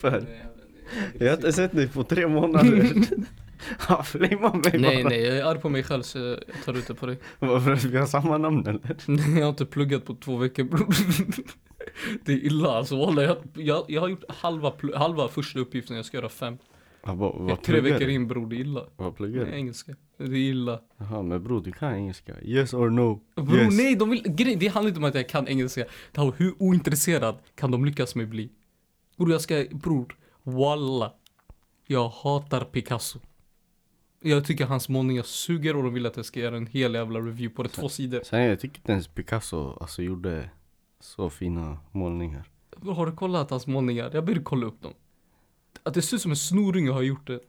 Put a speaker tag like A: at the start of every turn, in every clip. A: för? Jag har inte sett dig på tre månader. Han flamear mig
B: Nej
A: bara.
B: nej, jag är arg på mig själv så jag tar ut det på dig.
A: Varför att vi har samma namn eller?
B: Nej, jag har inte pluggat på två veckor bror. Det är illa alltså walla, jag, jag, jag har gjort halva, pl- halva första uppgiften, jag ska göra fem.
A: Ja, vad,
B: Jag är
A: vad
B: tre
A: pluggar
B: veckor
A: du?
B: in bror, det är illa.
A: Vad pluggar
B: Nej,
A: du?
B: engelska, det är illa.
A: Jaha men bror du kan engelska. Yes or no?
B: Bror
A: yes.
B: nej, de vill, grej, det handlar inte om att jag kan engelska. Det här, hur ointresserad kan de lyckas med bli? Bror jag ska, bror, walla. Jag hatar Picasso. Jag tycker hans målningar suger och de vill att jag ska göra en hel jävla review på det, två sidor.
A: Sen jag tycker inte ens Picasso alltså gjorde så fina målningar.
B: Bror, Har du kollat hans målningar? Jag ber dig kolla upp dem. Att det ser ut som en snorunge har gjort det.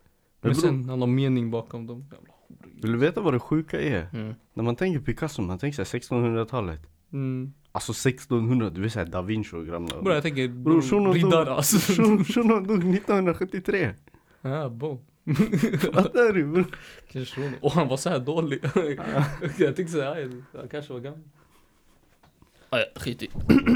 B: Men
A: bror-
B: sen han har mening bakom dem. Jävla horunge.
A: Vill du veta vad det sjuka är?
B: Mm.
A: När man tänker Picasso, man tänker såhär 1600-talet.
B: Mm.
A: Alltså 1600, du vet såhär da Vinci och gamla.
B: Bror jag tänker,
A: Bror, shunon
B: bror,
A: dog-
B: riddare alltså.
A: Shun- Shunon dog 1973.
B: Ja, bo.
A: Fattar du bror?
B: Kanske hon. Och han var så här dålig. jag tänkte såhär, han kanske var gammal. Ah, ja, skit i.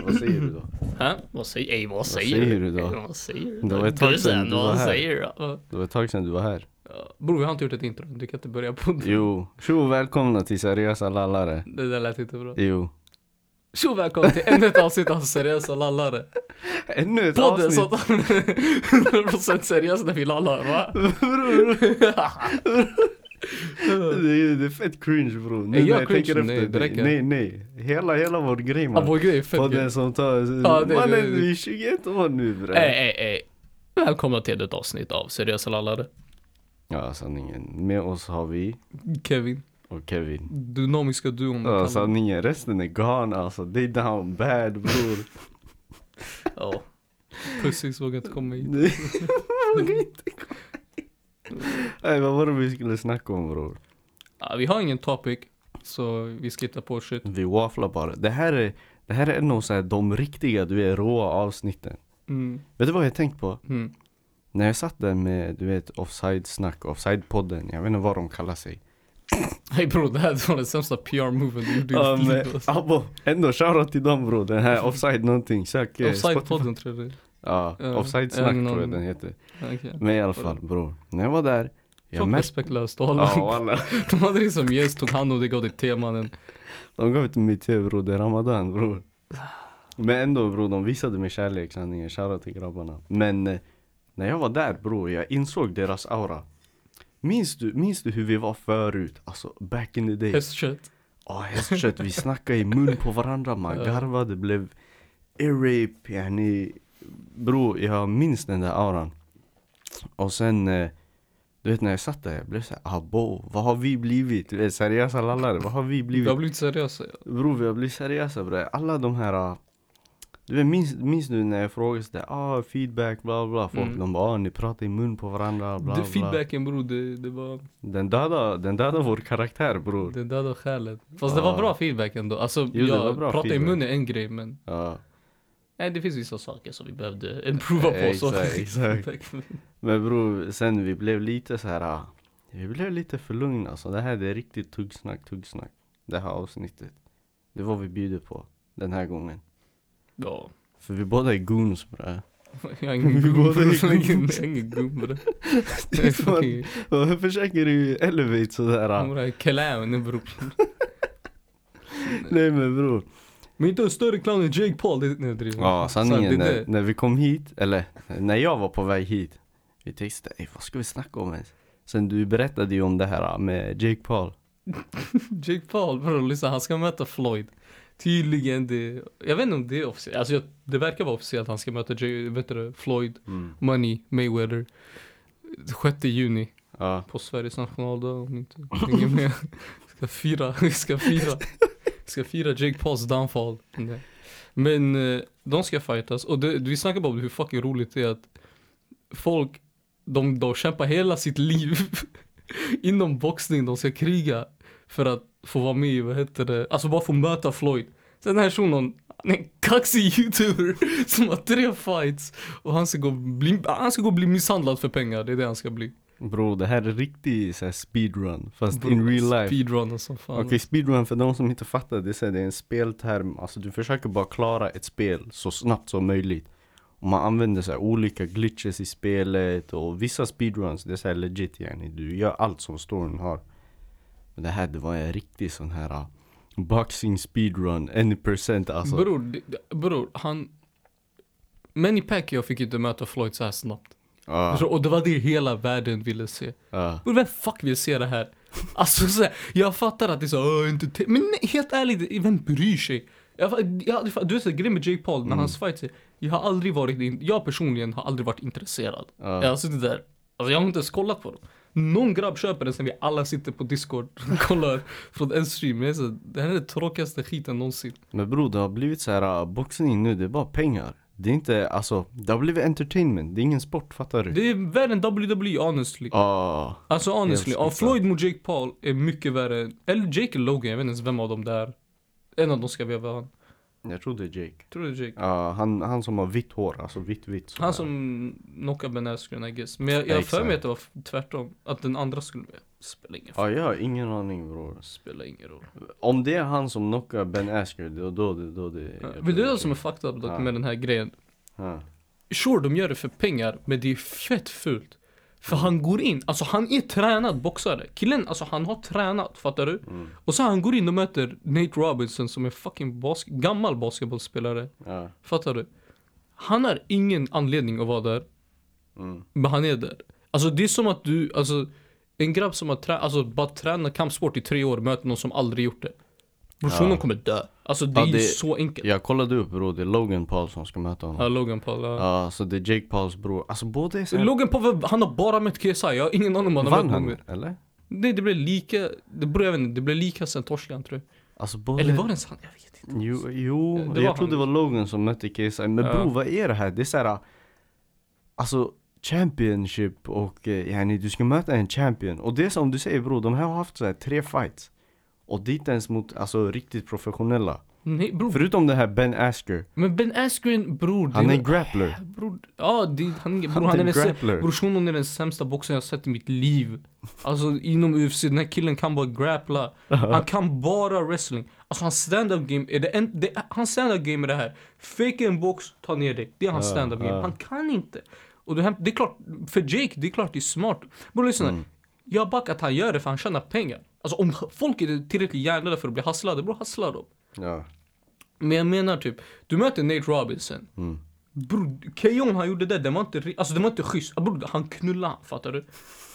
A: Vad säger du då?
B: Hä? Vad säger, ey, vad säger,
A: säger du då?
B: Ey, Vad säger
A: Det
B: du?
A: var ett tag sedan
B: Bussen,
A: du var
B: vad
A: här.
B: säger du? Ja.
A: Det var ett tag sedan du var här.
B: Ja, Bror, vi har inte gjort ett intro. Du kan inte börja på det.
A: Jo, tjo och välkomna till Seriösa Lallare.
B: Det där lät inte bra.
A: Jo.
B: Tjo, välkommen till ännu ett avsnitt av Seriösa Lallare.
A: Ännu ett
B: Podden
A: avsnitt.
B: som tar 100% seriös när vi lallar, va?
A: Det är, det är fett cringe bror. Nu
B: Är jag
A: när jag
B: cringe?
A: tänker efter.
B: Nej, det räcker.
A: nej, nej. Hela, hela vår grej
B: Ja,
A: man.
B: vår grej är fett
A: Podden
B: grej.
A: som tar...
B: Ja, det-
A: Mannen,
B: det- det- Eh.
A: vi är 21 år nu bre.
B: Ey, ey, ey. Välkomna till ett avsnitt av Seriösa Lallare.
A: Ja, sanningen. Med oss har vi
B: Kevin.
A: och
B: Mm,
A: Kevin.
B: Dynamiska duon. man
A: Ja,
B: kallar den.
A: sanningen. Resten är gone alltså. They down bad bror.
B: Ja. Precis, vågar inte komma hit.
A: Nej, vågar inte komma hit. Nej, vad var det vi skulle snacka om bror?
B: Ja, vi har ingen topic, så vi skippar på shit.
A: Vi wafflar bara. Det här är, det här är en av så här, de riktiga, du vet, råa avsnitten.
B: Mm.
A: Vet du vad jag tänkt på?
B: Mm.
A: När jag satt där med, du vet, offside-snack, offside-podden, jag vet inte vad de kallar sig.
B: Hej bror, det här var den sämsta PR-moven du gjorde i
A: Ja,
B: ditt
A: men
B: liv. alltså.
A: Abbo, ändå shoutout till dem bror, den här offside någonting, sök eh, Spotify.
B: Offside-podden tror jag det
A: Ja,
B: Ja,
A: offside-snack
B: jag har ingen
A: tror jag
B: aning.
A: den heter.
B: är. Ja, okej.
A: Men i alla fall bror, när jag var där, jag
B: Fått
A: märkte...
B: respektlöst och
A: Ja
B: alla.
A: walla.
B: De hade det som gäst, tog hand om det, gav det temanen.
A: De gav inte mitt te bror, det är ramadan bror. Men ändå bror, de visade mig kärlek sanningen, shoutout till grabbarna. Men eh, när jag var där bror, jag insåg deras aura. Minns du, minns du hur vi var förut? Alltså back in the day.
B: Hästkött.
A: Ja, hästkött. Vi snackade i mun på varandra, man
B: Ja.
A: garvade, blev irrape, yani. Bro, jag minns den där auran. Och sen, eh, du vet när jag satt där, jag blev såhär, abo, vad har vi blivit? Du vet, seriösa lallare, vad har vi
B: Jag
A: blivit?
B: har blivit seriös. ja.
A: Bro, vi har blivit seriösa bre. Alla de här, ah, du vet, minns, minns du när jag frågade sådär, ah, feedback, bla bla. Folk
B: Mm.
A: de bara, ah, ni pratar i mun på varandra, bla
B: Det,
A: bla.
B: feedbacken bror, det, det var
A: Den dödade, den dödade vår karaktär bror.
B: det döda skälet. Fast det var
A: Ja.
B: bra feedback ändå. Alltså,
A: det var
B: jag
A: bra
B: pratar i
A: feedback.
B: munnen är en grej, men
A: Ja.
B: nej, det finns vissa saker som vi behövde improva på. så.
A: Eh, Exakt, exakt. Men bror, sen vi blev lite så här. ah, Vi blev lite för lugna alltså. Det här det är riktigt tuggsnack, tuggsnack. Det här avsnittet. Det var vi bjuder på den här gången.
B: Ja.
A: För vi båda är goons bre.
B: Jag har ingen
A: Vi
B: gubbe,
A: båda är
B: jag har ingen-
A: gubbar.
B: jag har ingen gubbe.
A: Det
B: Jag är
A: är fan-
B: fucking-
A: Varför försöker du elevate sådär?
B: han
A: ah?
B: bara, clown bror.
A: Nej men bror.
B: Men inte en större clown än Jake Paul. Det, nej, jag driver.
A: Ja sanningen
B: Så det-
A: när, när vi kom hit, eller när jag var på väg hit. Vi tänkte "Ey, vad ska vi snacka om ens? Sen du berättade ju om det här ah, med Jake Paul.
B: Jake Paul bror, lyssna han ska möta Floyd. Tydligen det, jag vet inte om det är officiellt. Alltså jag, det verkar vara officiellt att han ska möta Jay, vet du, det, Floyd, Money, Mayweather. 6 juni
A: Ja.
B: på Sveriges nationaldag om inte hänger med. Ska fira, vi ska fira. Ska fira Jake Pauls downfall. Nej. Men eh, de ska fightas och det, vi snackar bara om hur fucking roligt det är att folk, de, de kämpar hela sitt liv inom boxning, de ska kriga för att få vara med i, vad heter det, alltså bara få möta Floyd. Sen den här shunon, han är en kaxig youtuber som har tre fights och han ska gå bli, han ska gå bli misshandlad för pengar, det är det han ska bli.
A: Bro, det här är riktig så här, speedrun fast in real life.
B: Speedrunner alltså, som fan.
A: Okej, speedrun för de som inte fattar, det är, så här, det är en spelterm. Alltså du försöker bara klara ett spel så snabbt som möjligt. Och man använder så här olika glitches i spelet och vissa speedruns, det är så här legit yani. Du gör allt som storyn har. Men det här det var en riktig sån här ah, boxing speedrun, any percent alltså.
B: Bror, det- bror, han... Manny Pacquiao fick inte möta Floyd så här snabbt.
A: Ah,
B: Förstår du? Och det var det hela världen ville se.
A: ah.
B: Bror, vem fuck vill se det här? Alltså så här, jag fattar att det är så, "Åh, inte te-" Men nej, helt ärligt, vem bryr sig? Jag, fa- jag, fa- du vet så här, grejen med Jake Paul, när hans fights, är- jag har aldrig varit, in, jag personligen har aldrig varit intresserad.
A: Ja.
B: Jag har suttit där, alltså jag har inte ens kollat på dem. Någon grabb köper den sen vi alla sitter på discord och kollar från en stream. Jag är så, här, det här är den tråkigaste skiten någonsin.
A: Men bror det har blivit så här ah, boxning nu, det är bara pengar. Det är inte, alltså, det har blivit entertainment, det är ingen sport fattar du?
B: Det är värre än WWE honestly.
A: Ah.
B: Alltså honestly,
A: Helt
B: ja,
A: sjukt, ja.
B: Floyd mot Jake Paul är mycket värre än, eller Jake eller Logan, jag vet inte ens vem av dem där. En av dem ska veva han.
A: Jag tror det är Jake.
B: Tror du det är Jake?
A: Ja, han, han som har vitt hår, alltså vitt vitt. så här.
B: Han som knockade benäsgrön I guess. Men jag,
A: Ja,
B: jag har för mig
A: exakt.
B: att det var f- tvärtom. Att den andra skulle med. Spelar ingen,
A: Ja, jag har ingen aning bror.
B: spelar ingen roll.
A: Om det är han som knockar Ben Askren, då, då, då, då det...
B: Ja, Vill du det som är fucked up dock
A: Ja.
B: med den här grejen?
A: Ja.
B: Sure, de gör det för pengar, men det är fett fult. För han går in, alltså han är tränad boxare. Killen, alltså han har tränat, fattar du?
A: Mm.
B: Och så han går in och möter Nate Robinson som är fucking bas- gammal basketbollspelare.
A: Ja.
B: Fattar du? Han har ingen anledning att vara där.
A: Mm.
B: Men han är där. Alltså det är som att du, alltså en grabb som har trä- alltså, bara tränat kampsport i tre år möter någon som aldrig gjort det. Personen
A: Ja.
B: kommer dö. Alltså det
A: Ja,
B: är ju
A: det-
B: så enkelt.
A: Jag kollade upp bror, det är Logan Paul som ska möta
B: Ja,
A: honom.
B: Logan Paul. ja.
A: Ja, så det är Jake Pauls bror. Alltså båda är såhär...
B: Logan Paul, han har bara mött KSI. Jag har ingen aning om han har
A: Vann
B: mött någon
A: han,
B: mer.
A: eller?
B: Nej det blev lika, det blev, jag vet inte, det blev lika sen torskan tror jag.
A: Alltså båda...
B: Eller var det ens han? Jag vet inte.
A: Jo, jo
B: Eh, Det var
A: jag tror
B: han.
A: det var Logan som mötte KSI. Men
B: Ja.
A: bror, vad är det här? Det är såhär... Alltså, Championship och... Eh, yani, du ska möta en champion. Och det är som du säger bror, de här har haft såhär tre fights. Och det är inte ens mot, alltså riktigt professionella.
B: Nej bror.
A: Förutom den här Ben Asker.
B: Men Ben Askren bror. det
A: Han är
B: är-
A: en grappler.
B: Bror, ja, det, han, bror,
A: Han
B: han,
A: är en
B: är den
A: grappler.
B: sä- bror, shunon är den sämsta boxaren jag har sett i mitt liv. Alltså inom UFC, den här killen kan bara grappla. Han kan bara wrestling. Alltså hans stand-up game är det, en, det hans stand-up game är det här. Fake en box, ta ner dig. Det är hans
A: Ja,
B: stand-up game.
A: ja.
B: Han kan inte. Och det, här- det är klart, för Jake, det är klart det är smart. Bror lyssna.
A: Mm.
B: Jag backar att han gör det för han tjänar pengar. Alltså om folk är tillräckligt hjärndöda för att bli hasslade, bror hassla dem.
A: Ja.
B: Men jag menar typ, du möter Nate Robinson.
A: Mm.
B: Bror, Keyon han gjorde det, det var inte, ri- alltså, det var inte schysst. Bror, han knullade han, fattar du?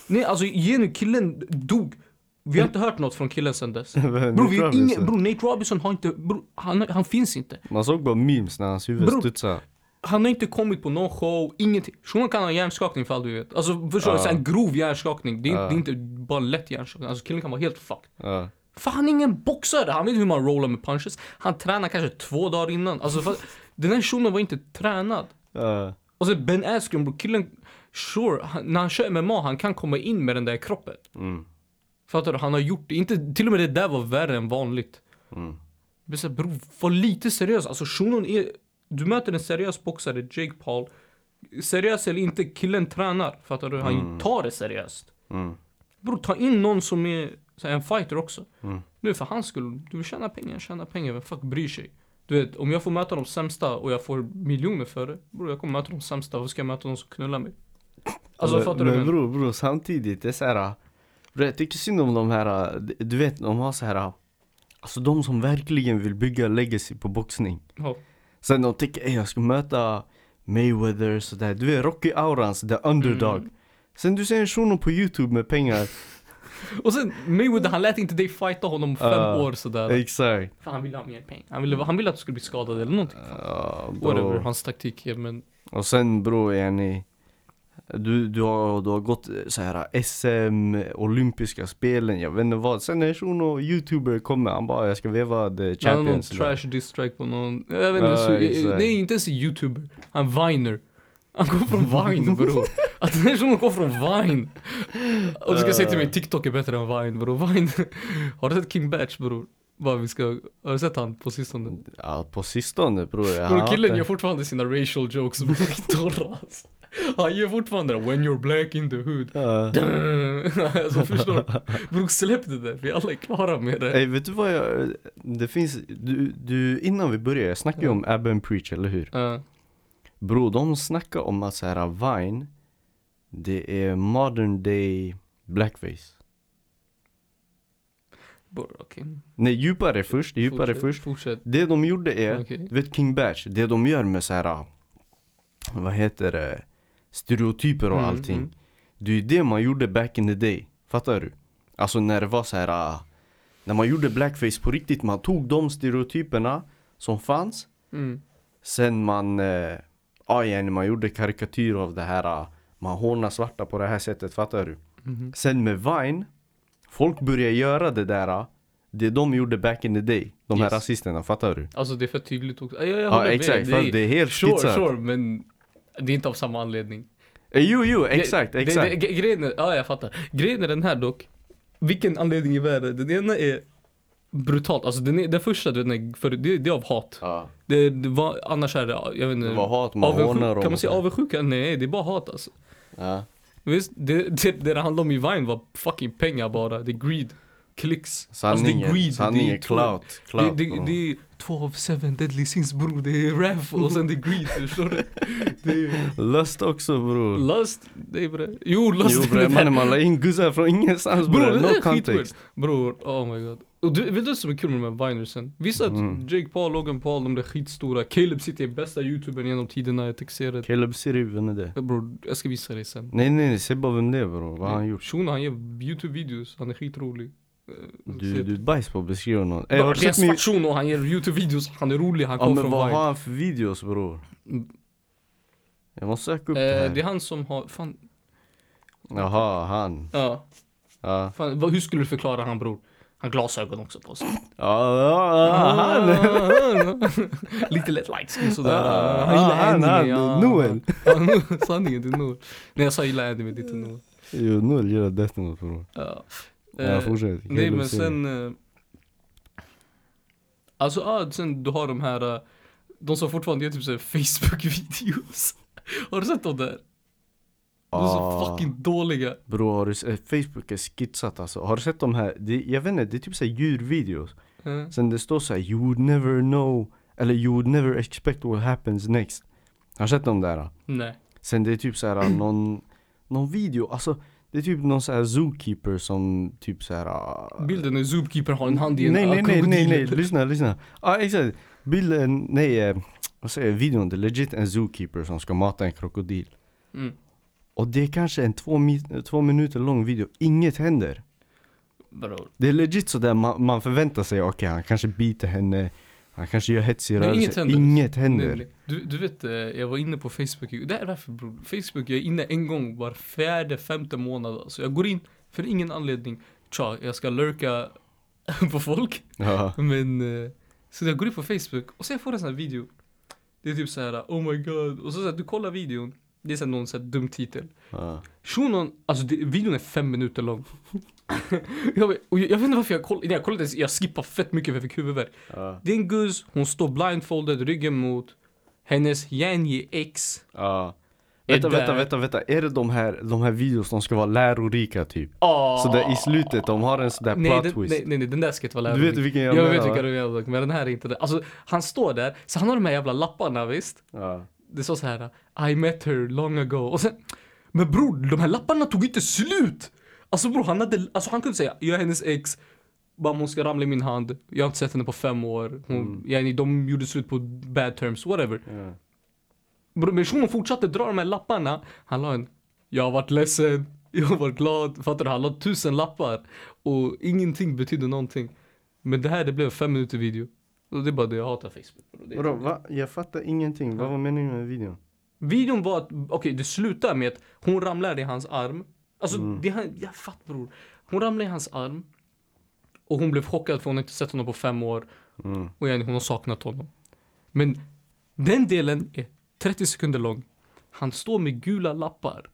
B: Nej alltså ge nu, killen dog. Vi har inte hört något från killen sen dess. Bror, vi har ingen, bror Nate Robinson har inte, bror, han, han finns inte.
A: Man såg bara memes när hans huvud
B: Bror.
A: studsade.
B: Han har inte kommit på någon show, ingenting. Shunon kan ha hjärnskakning för allt vi vet. Alltså förstår du?
A: Ja.
B: Så En grov hjärnskakning. Det är,
A: Ja.
B: det är inte bara lätt hjärnskakning. Alltså killen kan vara helt fucked.
A: Ja.
B: För han är ingen boxare, han vet hur man rollar med punches. Han tränar kanske två dagar innan. Alltså för, den här shunon var inte tränad.
A: Ja.
B: Och sen Ben Askren bror, killen, sure, han, när han kör MMA han kan komma in med den där kroppen.
A: Mm.
B: Fattar du? Han har gjort det. Inte, till och med det där var värre än vanligt.
A: Mm.
B: Men så här, bror, var lite seriös. Alltså shunon är, du möter en seriös boxare, Jake Paul. Seriös eller inte, killen tränar. Fattar du? Han tar det seriöst.
A: Mm.
B: Bror, ta in någon som är så här, en fighter också.
A: Mm.
B: Nu för hans skull, du vill tjäna pengar, tjäna pengar, vem fuck bryr sig? Du vet, om jag får möta de sämsta och jag får miljoner för det, bror jag kommer möta de sämsta, varför ska jag möta de som knullar mig? Alltså
A: men,
B: fattar du?
A: Men
B: Men,
A: bror, bror, samtidigt, det är såhär. Bror jag tycker synd om de här, äh, du vet de har så här. Alltså de som verkligen vill bygga legacy på boxning.
B: ja.
A: Sen de tänker, "Ey, jag ska möta Mayweather sådär. Du är Rocky Aurans, the underdog.
B: Mm.
A: Sen du ser en shuno på youtube med pengar.
B: Och sen Mayweather, han lät inte dig fighta honom om fem
A: Ah,
B: år sådär.
A: Exakt.
B: För han ville ha mer pengar. Han ville, han ville att du skulle bli skadad eller någonting.
A: Ah, Ja,
B: Whatever
A: bror.
B: hans taktik är men...
A: Och sen bror yani du, du, har, du har gått eh, så här SM, olympiska spelen, jag vet inte vad. Sen när Shuno, youtuber, kommer, han bara jag ska veva the
B: Han hade någon
A: champions.
B: trash distrack på någon, jag vet inte,
A: Ja,
B: så,
A: exakt.
B: nej inte ens en youtuber, han viner. Han kom från Vine bror. Att den här shunon kom från Vine. Och du ska säga till
A: Ah.
B: mig TikTok är bättre än Vine bror. Vine, har du sett King Batch bror? Vad vi ska, har du sett han på sistone?
A: ja, på sistone bror. Jag
B: Bror
A: har
B: killen
A: inte-
B: gör fortfarande sina racial jokes bror, torra alltså. Han gör fortfarande den, when you're black in the hood.
A: Ja.
B: alltså förstår du? Bror släpp det där, vi alla är klara med det.
A: Ey, vet du vad jag, det finns, du, du, innan vi börjar, jag snackade ju om Abba and Preach, eller hur?
B: Ja.
A: Bro, de snackar om att så här, Vine, det är modern day blackface.
B: Bro, okej.
A: Nej, djupare först, djupare
B: Fortsätt,
A: först.
B: Fortsätt.
A: Det de gjorde är,
B: Okej.
A: du vet King Batch, det de gör med så här, vad heter det, stereotyper och
B: Mm,
A: allting.
B: mm.
A: Det är ju det man gjorde back in the day, fattar du? Alltså när det var så här, när man gjorde blackface på riktigt, man tog de stereotyperna som fanns
B: Mm.
A: Sen man, eh, ja igen, man gjorde karikatyr av det här, ah, man hånar svarta på det här sättet, fattar du?
B: Mhm.
A: Sen med Vine, folk började göra det där, ah, det de gjorde back in the day, de här
B: Yes.
A: rasisterna, fattar du?
B: Alltså det är för tydligt också. Ja, jag, jag
A: Ja
B: håller
A: exakt,
B: med.
A: för det är helt
B: Sure,
A: skitsat.
B: sure, men det är inte av samma anledning.
A: Eh, Jo, jo, exakt,
B: det,
A: exakt.
B: Det, det, grejen är, ja jag fattar. Grejen är den här dock. Vilken anledning i världen? Den ena är brutalt. Alltså den, är, den första du vet, när- för det, det är av hat.
A: ja.
B: Det, det var, annars är det, ja, jag vet inte.
A: Det var hat, man hånar
B: avundsjuka.
A: dem.
B: Kan man säga
A: och-
B: avundsjuka? Nej, det är bara hat alltså.
A: Ja.
B: Visst, det det, det, det handlar om i Vine var fucking pengar bara. Det är greed. Klicks.
A: Sanningen,
B: alltså det är greed. det
A: sanningen,
B: är två-
A: clout,
B: Det,
A: clout. Mm.
B: det, det är två av seven deadly sins bror. Det är raff och sen det är greed. Förstår du? Det är...
A: Lust också bror.
B: Lust, det är bre. Jo, lust
A: Jo
B: är
A: bre,
B: det
A: mannen man la in gussar från ingenstans
B: Bror,
A: bror,
B: det där
A: no
B: är skitweird.
A: context.
B: Bror, oh my god. Och du, vet du vad som är kul med de här vinersen? Visst att
A: Mm.
B: Jake Paul, Logan Paul, de där skitstora, Caleb City är bästa youtubern genom tiderna, jag texterar det.
A: Caleb Siri, vem är det?
B: Bror, jag ska visa dig sen.
A: Nej nej, nej, se bara vem det är bror, vad har han gjort?
B: Shunon han gör youtube-videos, han är skitrolig. Eh,
A: Du,
B: se-
A: du är bajs på att beskriva någon. Ey, har
B: Bror,
A: du
B: Eh, det är
A: sett min...
B: svart Shunon, han gör youtube-videos, han är rolig, han
A: Ja
B: kommer
A: men
B: från
A: vad
B: Vine.
A: har han för videos bror?
B: Mm.
A: Jag måste söka upp det
B: Eh,
A: här.
B: det är han som har, fan,
A: Jaha, han.
B: ja.
A: Ja,
B: Fan, vad, hur skulle du förklara han bror? Han har glasögon också på sig.
A: ja, ja,
B: Ah,
A: ja, Ah, han.
B: Lite lätt light skin sådär.
A: Ja,
B: Han gillar
A: Ah, han, han,
B: anime, ja.
A: Noel.
B: Ja, Noel, Sanningen, det är Noel. Nej jag sa gillar anime, det är inte Noel.
A: Jo, Noel gillar Death Note bror.
B: Ja.
A: Ja,
B: Eh,
A: fortsätt.
B: nej
A: Kul
B: men
A: att se.
B: sen... eh, Alltså ja, sen du har de här, eh, de som fortfarande gör typ såhär Facebook-videos. Har du sett dem där? De är så
A: Ah.
B: fucking dåliga.
A: Bror har du sett, Facebook är skitsat alltså. Har du sett de här, det, jag vet inte, det är typ såhär djurvideos.
B: Eh,
A: Sen det står så här: you would never know, eller you would never expect what happens next. Har du sett de där?
B: nej.
A: Sen det är typ så här någon, någon video, alltså det är typ någon så här zookeeper som typ så här. ah,
B: Bilden är Zoopkeeper har en hand i
A: nej
B: en
A: nej
B: eh,
A: nej nej nej,
B: krokodil.
A: lyssna lyssna. Ja exakt. Bilden, nej eh, vad säger jag, videon, det är legit en zookeeper som ska mata en krokodil.
B: Mm.
A: Och det är kanske en två, mi- två minuter lång video, inget händer.
B: Bror.
A: Det är legit sådär man, man förväntar sig, okej han kanske biter henne, han kanske gör hetsig
B: Nej, inget
A: rörelse,
B: händer.
A: inget händer.
B: Nej, nej. Du, du vet, eh, jag var inne på Facebook igår. Det här är varför bror. Facebook, jag är inne en gång var fjärde, femte månad. Alltså jag går in för ingen anledning. Tja, jag ska lurka på folk.
A: Ja.
B: Men, eh, så jag går in på Facebook och så jag får en sån här video. Det är typ så här, oh my god. Och så, så här, du kollar videon. Det är så här någon så här dum titel.
A: Ja.
B: Shunon, alltså det, videon är fem minuter lång. jag, vet- och jag, jag vet inte varför jag kollade, nej, jag kollade inte ens, jag skippade fett mycket för jag fick huvudvärk.
A: Ja.
B: Det är en guzz, hon står blindfolded, ryggen mot. Hennes Yanji ex
A: Ja.
B: är
A: Vänta,
B: där.
A: vänta, vänta, vänta. Är det de här, de här videos som ska vara lärorika typ?
B: Ah.
A: Så där i slutet, de har en sån där
B: Nej,
A: plot
B: den,
A: twist.
B: nej, nej, nej, den där ska inte vara
A: Du
B: lärorik.
A: vet vilken jag
B: jag
A: menar,
B: vet
A: va?
B: vilka du menar, men den här är inte det. Alltså, han står där, så han har de här jävla lapparna, visst?
A: Ja.
B: Det står så här, I met her long ago. Och sen, men bror, de här lapparna tog inte slut! Alltså bror, han hade, alltså han kunde säga, jag är hennes ex. Bara hon ska ramla i min hand. Jag har inte sett henne på fem år. Hon, yani, de gjorde slut på bad terms, whatever.
A: Ja.
B: Bror, Men shunon fortsatte dra de här lapparna. Han la en, jag har varit ledsen, jag har varit glad. Fattar du? Han la tusen lappar. Och ingenting betydde någonting. Men det här det blev en fem minuter video. Och det är bara det jag hatar Facebook. bror. Det är-
A: Vadå, va? Jag fattar ingenting. Vad var meningen med videon?
B: Videon var att, okej det slutar med att hon ramlar i hans arm. Alltså
A: Mm.
B: det han, jag fattar bror. Hon ramlar i hans arm. Och hon blev chockad för hon har inte sett honom på fem år.
A: Mm.
B: Och igen, hon har saknat honom. Men den delen är 30 sekunder lång. Han står med gula lappar.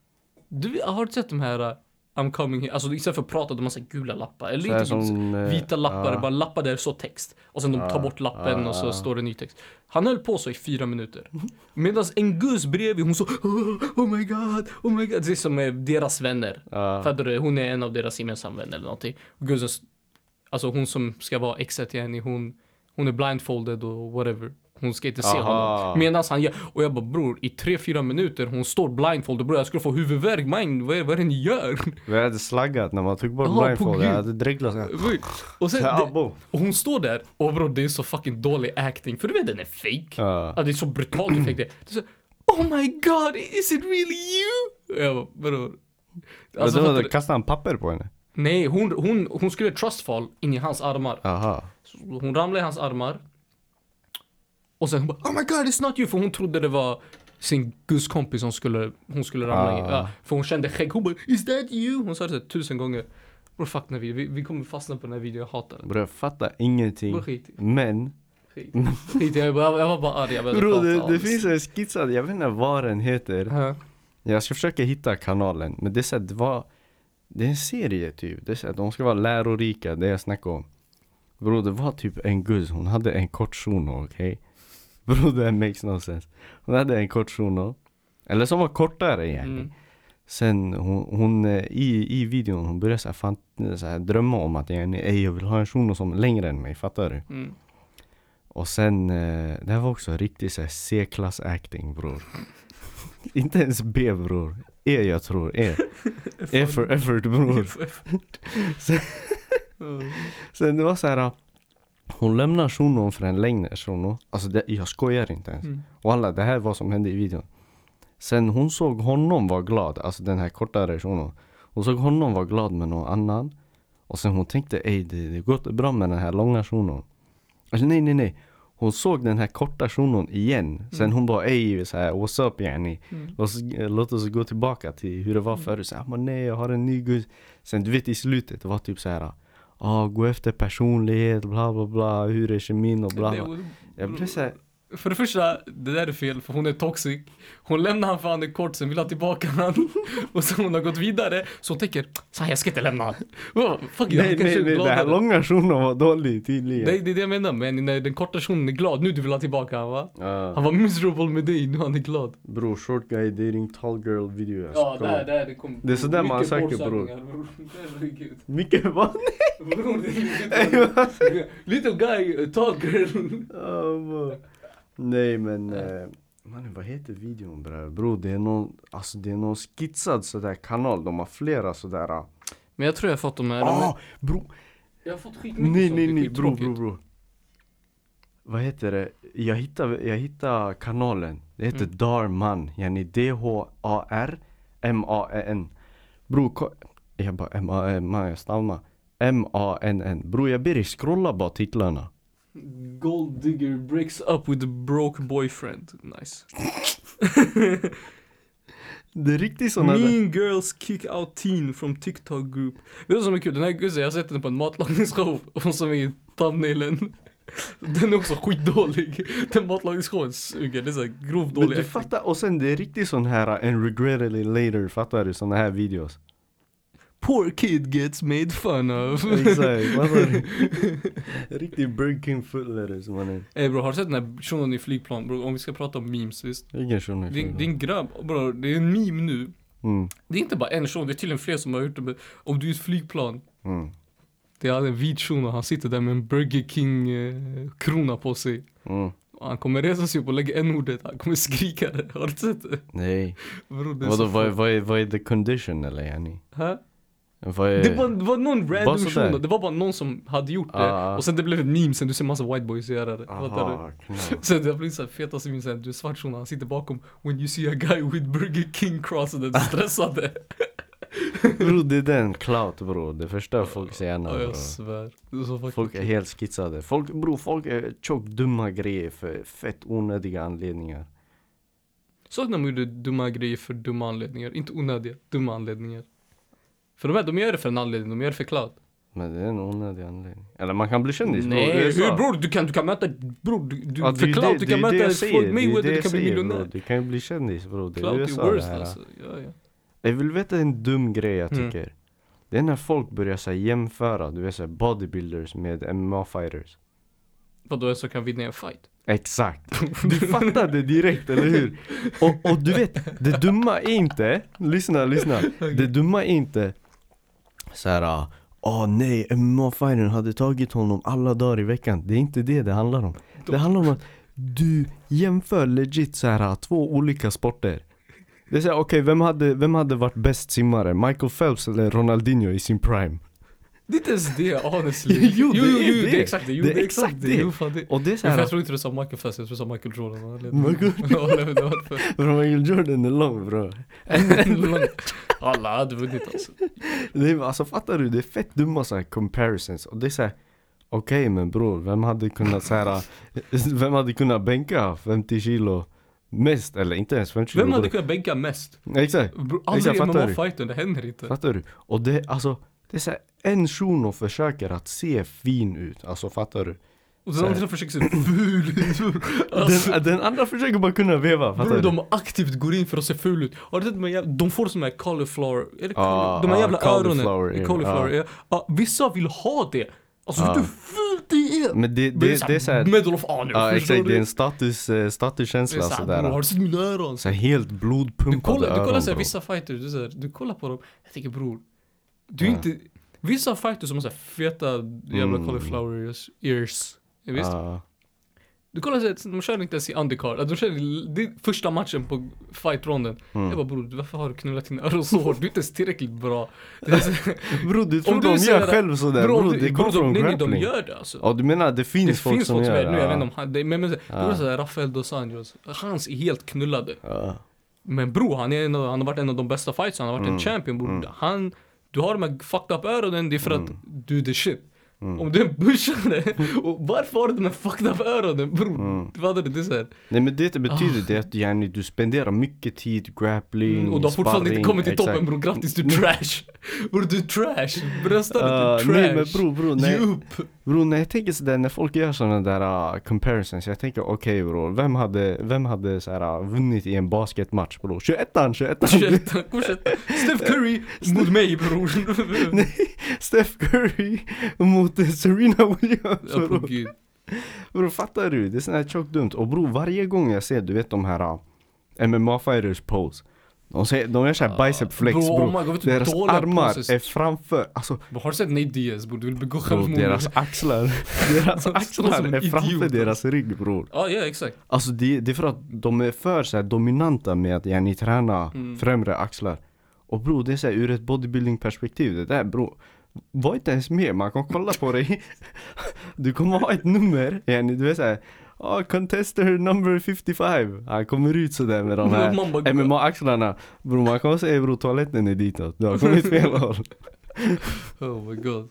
B: Du har du sett de här uh, I'm coming here, alltså istället för att prata de har så här gula lappar. Eller
A: Så här
B: inte gula,
A: som, eh,
B: vita lappar,
A: ja.
B: bara lappar där det står text. Och sen de tar
A: Ja,
B: bort lappen
A: ja,
B: och så
A: ja.
B: står det ny text. Han höll på så i fyra minuter. Medan en gus bredvid hon så oh, oh my god, oh my god. Det är som eh, deras vänner.
A: Ja.
B: Fattar du? Hon är en av deras gemensamma vänner eller någonting. Och Gusen, s- alltså hon som ska vara exet till henne, hon, hon är blindfolded och whatever. Hon ska inte se
A: Aha.
B: honom. Medan han gör, och jag bara bror i 3-4 minuter hon står blindfold och bror jag skulle få huvudvärk mind, vad är, vad är det ni gör?
A: Vi hade slaggat när man tog bort
B: Ja, på
A: blindfold. Jag
B: Gud. Alltså,
A: hade dreglat. så här.
B: Och sen,
A: Ja,
B: det,
A: bo.
B: och hon står där och bror det är så fucking dålig acting för du vet den är fake.
A: Ja.
B: Ja, det är så brutalt effekt det. det är så, oh my god is it really you? Jag bara bror. Alltså,
A: Vadå,
B: fattar
A: då
B: du?
A: kastade han papper på henne?
B: nej hon, hon, hon skulle trustfall in i hans armar.
A: Aha.
B: Hon ramlade i hans armar. Och sen hon bara Oh my god it's not you! För hon trodde det var sin gudskompis som skulle, hon skulle ramla i.
A: Ah.
B: Ja, för hon kände skägg. Hon bara Is that you? Hon sa det så tusen gånger. Bror fuck den här videon. Vi, vi kommer fastna på den här videon. Jag hatar den.
A: Bror jag fattar ingenting.
B: Bror skit i-
A: Men.
B: skit i- Skit i- jag, bara- jag var bara arg. Jag behövde
A: Bror
B: prata
A: det,
B: om
A: det finns en skissad, jag vet inte vad den heter.
B: Ja.
A: Jag ska försöka hitta kanalen, men det är så här, det var Det är en serie typ, det är så här, de ska vara lärorika, det jag snackar om Bror det var typ en guzz, hon hade en kort shuno, okej? Bror det här makes no sense Hon hade en kort shuno Eller som var kortare igen
B: Mm.
A: Sen hon, hon eh, i, i videon, hon började så här, fan, så här, drömma om att jag, ej, jag vill ha en shuno som är längre än mig, fattar du?
B: Mm.
A: Och sen, eh, det här var också riktigt såhär C-klass acting bror. Inte ens B bror. E jag tror, E. E for effort bror.
B: Mm.
A: Sen det var så här. ah, Hon lämnar shunon för en längre shuno. Alltså det, jag skojar inte ens.
B: Mm.
A: Och alla, det här var vad som hände i videon. Sen hon såg honom vara glad, alltså den här kortare shunon. Hon såg honom vara glad med någon annan. Och sen hon tänkte, ej det, det går inte bra med den här långa shunon. Alltså nej nej nej. Hon såg den här korta shunon igen. Sen hon bara, ej så här, what's up yani?
B: Mm.
A: Låt, oss, eh, låt oss gå tillbaka till hur det var förut. Så här, "Ah, "Men nej jag har en ny gud. Sen du vet i slutet, det var typ så här. Ja, gå efter personlighet, bla bla bla, hur är kemin och bla bla. Jag blev såhär,
B: För det första, det där är fel för hon är toxic. Hon lämnar han för han är kort, sen vill ha tillbaka han. Och sen hon har gått vidare, så hon tänker såhär, jag ska inte lämna han. Oh, fuck, nej,
A: nej
B: han
A: nej
B: kanske
A: nej, den
B: är
A: här
B: gladare.
A: långa shunon var dålig tydligen.
B: Nej, det är det jag menar. Men när den korta shunon är glad, nu du vill ha tillbaka han va?
A: Ja.
B: Han var miserable med dig, nu han är glad.
A: Bror, short guy dating tall girl video.
B: Ja, där, där, det kom.
A: Det är sådär man söker, bror.
B: Herregud.
A: Mycket vad?
B: Bror, det är lite- Little guy, tall girl.
A: Nej men, eh, mannen vad heter videon bror? Bror det är någon, alltså det är någon skissad sådär kanal, de har flera sådär. ah.
B: Men jag tror jag har fått de här.
A: Ah, bror!
B: Jag har fått skitmycket
A: Nej
B: sånt,
A: nej
B: det är
A: nej bro
B: skittråkigt.
A: bro bro Vad heter det? Jag hittar, jag hittar kanalen Det heter
B: Mm.
A: Darman Yani D-H-A-R-M-A-N Bro ko- Jag bara M-A-M-A jag stammar M-A-N-N Bro jag ber dig scrolla bara titlarna
B: Gold digger breaks up with a broke boyfriend. Nice.
A: Det är riktigt såna där
B: Mean girls kick out teen from TikTok group. Vet du vad som är kul? Den här guzzen, jag har sett den på en matlagningsshow. Hon som är i thumbnailen. Den är också skitdålig. Den matlagningsshowen suger. Det är såhär grov
A: Men
B: dålig
A: du
B: acting.
A: fattar och sen det är riktigt sån här uh, And regrettably later fattar du såna här videos
B: Poor kid gets made fun of.
A: Exakt fattar du? Riktig Burger King footletters mannen
B: Ey bror, har du sett den här shunon i flygplan bror? Om vi ska prata om memes visst?
A: Vilken shuno
B: Det är, det är en grabb bror, det är en meme nu.
A: Mm,
B: Det är inte bara en shuno, det är tydligen fler som har gjort det. men Om du är i ett flygplan
A: mm,
B: Det är en vit shuno, han sitter där med en Burger King-krona på sig.
A: mm
B: Och Han kommer resa sig upp och lägga n-ordet, han kommer skrika det. Har du sett det?
A: Nej
B: Bror, det är
A: Vadå,
B: så
A: vad, är-
B: sjukt.
A: vad, är, vad är the condition eller yani?
B: Hä?
A: Vad är...
B: Det var, det var någon random
A: sådär?
B: shuno, det var bara någon som hade gjort det.
A: Ah, ah.
B: Och sen det blev ett meme, sen du ser massa white boys göra det. Fattar du?
A: Aha, knall.
B: Sen det har blivit såhär fetaste meme, såhär, du är svart shuno, han sitter bakom. When you see a guy with Burger King cross och den stressade.
A: Bro det är den clout bro, det förstör folks hjärna
B: Ja,
A: bro.
B: jag svär. Det är så fucking
A: Folk är helt skitsade. Folk, bro, folk är tjockt dumma grejer för fett onödiga anledningar.
B: Så att de gjorde dumma grejer för dumma anledningar. Inte onödiga, dumma anledningar. För de, här, de gör det för en anledning, de gör det för cloud.
A: Men det är en onödig anledning. Eller man kan bli kändis bror,
B: Nej,
A: det är så.
B: hur bror? Du kan, du kan möta, bror, du, du,
A: Ja, det är
B: för
A: ju
B: cloud,
A: det-
B: du
A: det är
B: kan
A: ju det
B: möta
A: jag säger,
B: Floyd
A: det är
B: Mayweather,
A: det
B: du
A: jag
B: kan bli
A: säger, bro.
B: miljonär.
A: Du kan ju bli kändis bro, det är
B: Cloud
A: USA
B: är
A: det
B: worst
A: här.
B: alltså. Ja, ja.
A: Jag vill veta en dum grej jag
B: Mm.
A: tycker. Det är när folk börjar så här, jämföra, du vet såhär bodybuilders med MMA-fighters.
B: Vadå, en som kan vinna en fight?
A: Exakt. Du fattade direkt, eller hur? Och, och du vet, det dumma är inte, lyssna, lyssna. Det dumma är inte såhär, åh nej, MMA-fightern hade tagit honom alla dagar i veckan. Det är inte det det handlar om. Det handlar om att Du jämför legit så här ah, två olika sporter. Det är såhär, okej vem, hade, vem hade varit bäst simmare? Michael Phelps eller Ronaldinho i sin prime?
B: Det är inte ens det honestly.
A: Jo, jo, det
B: jo,
A: är
B: jo,
A: det.
B: det är exakt det. Jo, det är exakt det. Jo, fan, det.
A: Och det är så
B: Men
A: här,
B: Jag tror inte du sa Michael Phelps, jag tror du sa Michael Jordan. eller-
A: Michael-
B: Ja, nej, men det var för-
A: bro, Michael Jordan är lång bro.
B: Alla hade vunnit alltså.
A: Det är, alltså fattar du? Det är fett dumma så här comparisons. Och det är såhär, okej men bror, vem hade kunnat så här, vem hade kunnat bänka 50 kilo mest? Eller inte ens 50 kilo.
B: Vem hade kunnat bänka mest?
A: kunnat? Exakt.
B: Bro,
A: Exakt,
B: Aldrig i
A: fattar du?
B: MMA-fighten, det händer inte.
A: Fattar du? Och det, alltså, det är såhär, en shuno försöker att se fin ut. Alltså fattar du?
B: Och den andra försöker se ful ut. Alltså,
A: Den, den andra försöker bara kunna veva, fattar
B: Bror
A: du?
B: de aktivt går in för att se ful ut. Har du sett de här jävla, de får såna här cauliflower, är det
A: Ah,
B: cauli- de här
A: ah,
B: jävla
A: cauliflower
B: öronen.
A: ear,
B: Cauliflower ear. Ja, Ah, vissa vill ha det. Alltså
A: Ah.
B: vet du hur fult det är?
A: Men det, det,
B: Men
A: det är
B: såhär
A: såhär,
B: Medal of honor,
A: ja
B: förstår
A: exakt, det är
B: du?
A: en status, eh,
B: Det är
A: statuskänsla
B: såhär, bror har
A: sådär.
B: du sett mina öron?
A: Såhär helt blodpumpade
B: Du kollar, du kollar
A: öron,
B: såhär,
A: bror.
B: vissa fighters, du, såhär, du kollar på dem, jag tänker bror. Du är
A: Ja.
B: inte, vissa fighters som har såhär feta jävla
A: Mm.
B: cauliflower ears, ears. Ja, Visst?
A: Ja.
B: Du kollar såhär, de kör inte ens i undercard, Alltså, de kör i- det är första matchen på fight-ronden.
A: Mm.
B: Jag bara bror, varför har du knullat dina öron så hårt? Du är inte ens tillräckligt bra. Det är så-
A: Bror du tror
B: du
A: de
B: säger
A: gör
B: att-
A: själv sådär
B: Bror,
A: bror,
B: du-
A: det
B: bror,
A: kom
B: de-
A: från
B: nej, nej, de
A: grappling
B: gör det alltså.
A: Ja du menar det
B: Det
A: finns folk
B: finns
A: som
B: folk som
A: gör
B: är, nu jag
A: det?
B: vet inte om han, det- men, men det
A: Ja.
B: var såhär Rafael dos Anjos, hans är helt knullade.
A: Ja.
B: Men bror, han, är en av, han har varit en av de bästa fighters, han har varit
A: Mm.
B: en champion bror.
A: Mm.
B: Han, du har de här fucked up öronen, det är för att
A: Mm.
B: du är the shit.
A: Mm.
B: Om du är en pushare, och varför har du de här fucked up öronen bror?
A: Mm.
B: Du fattar du? Det är såhär.
A: Nej men det betyder det att yani, du spenderar mycket tid, grappling,
B: Mm, och du har fortfarande inte
A: sparring,
B: kommit till toppen
A: exakt.
B: bror, grattis du är trash! Bror du är trash! Bröstarna
A: Ah,
B: du är typ trash!
A: nej men bror, bror, nej.
B: Ge upp!
A: Bror när jag tänker sådär, när folk gör sådana där ah, comparisons, jag tänker okej bror, vem hade, vem hade såhär ah, vunnit i en basketmatch bror? 21an, 21an!
B: Fortsätt, fortsätt. Steph Curry mot mig bror!
A: Steph Curry mot eh, Serena Williams
B: Ja,
A: bror.
B: bror, gud.
A: Bror fattar du? Det är sån här tjockt dumt. Och bror varje gång jag ser du vet de här ah, MMA fighters pose. De, säger, de gör såhär
B: Ah,
A: bicep flex
B: bror,
A: bror.
B: oh my God, vet du hur
A: deras
B: dåliga
A: armar
B: poses-
A: är framför, alltså
B: Bror, Har du sett Nate Diaz bror? Du vill begå
A: bror,
B: självmord?
A: deras axlar. deras
B: Han står som
A: axlar
B: en
A: är
B: idiot,
A: framför
B: alltså.
A: deras rygg bror.
B: Ja, ja exakt.
A: Alltså det, det är för att de är för så här dominanta med att yani träna
B: Mm.
A: främre axlar. Och bror det är såhär ur ett bodybuilding perspektiv, det där bror. Var inte ens med, man kan kolla på dig. Du kommer ha ett nummer, yani du är såhär ah contester number 55. Han kommer ut sådär med de här
B: Man bara-
A: MMA-axlarna. Bror man kommer säga bror toaletten är ditåt, du har kommit fel håll.
B: Oh my god.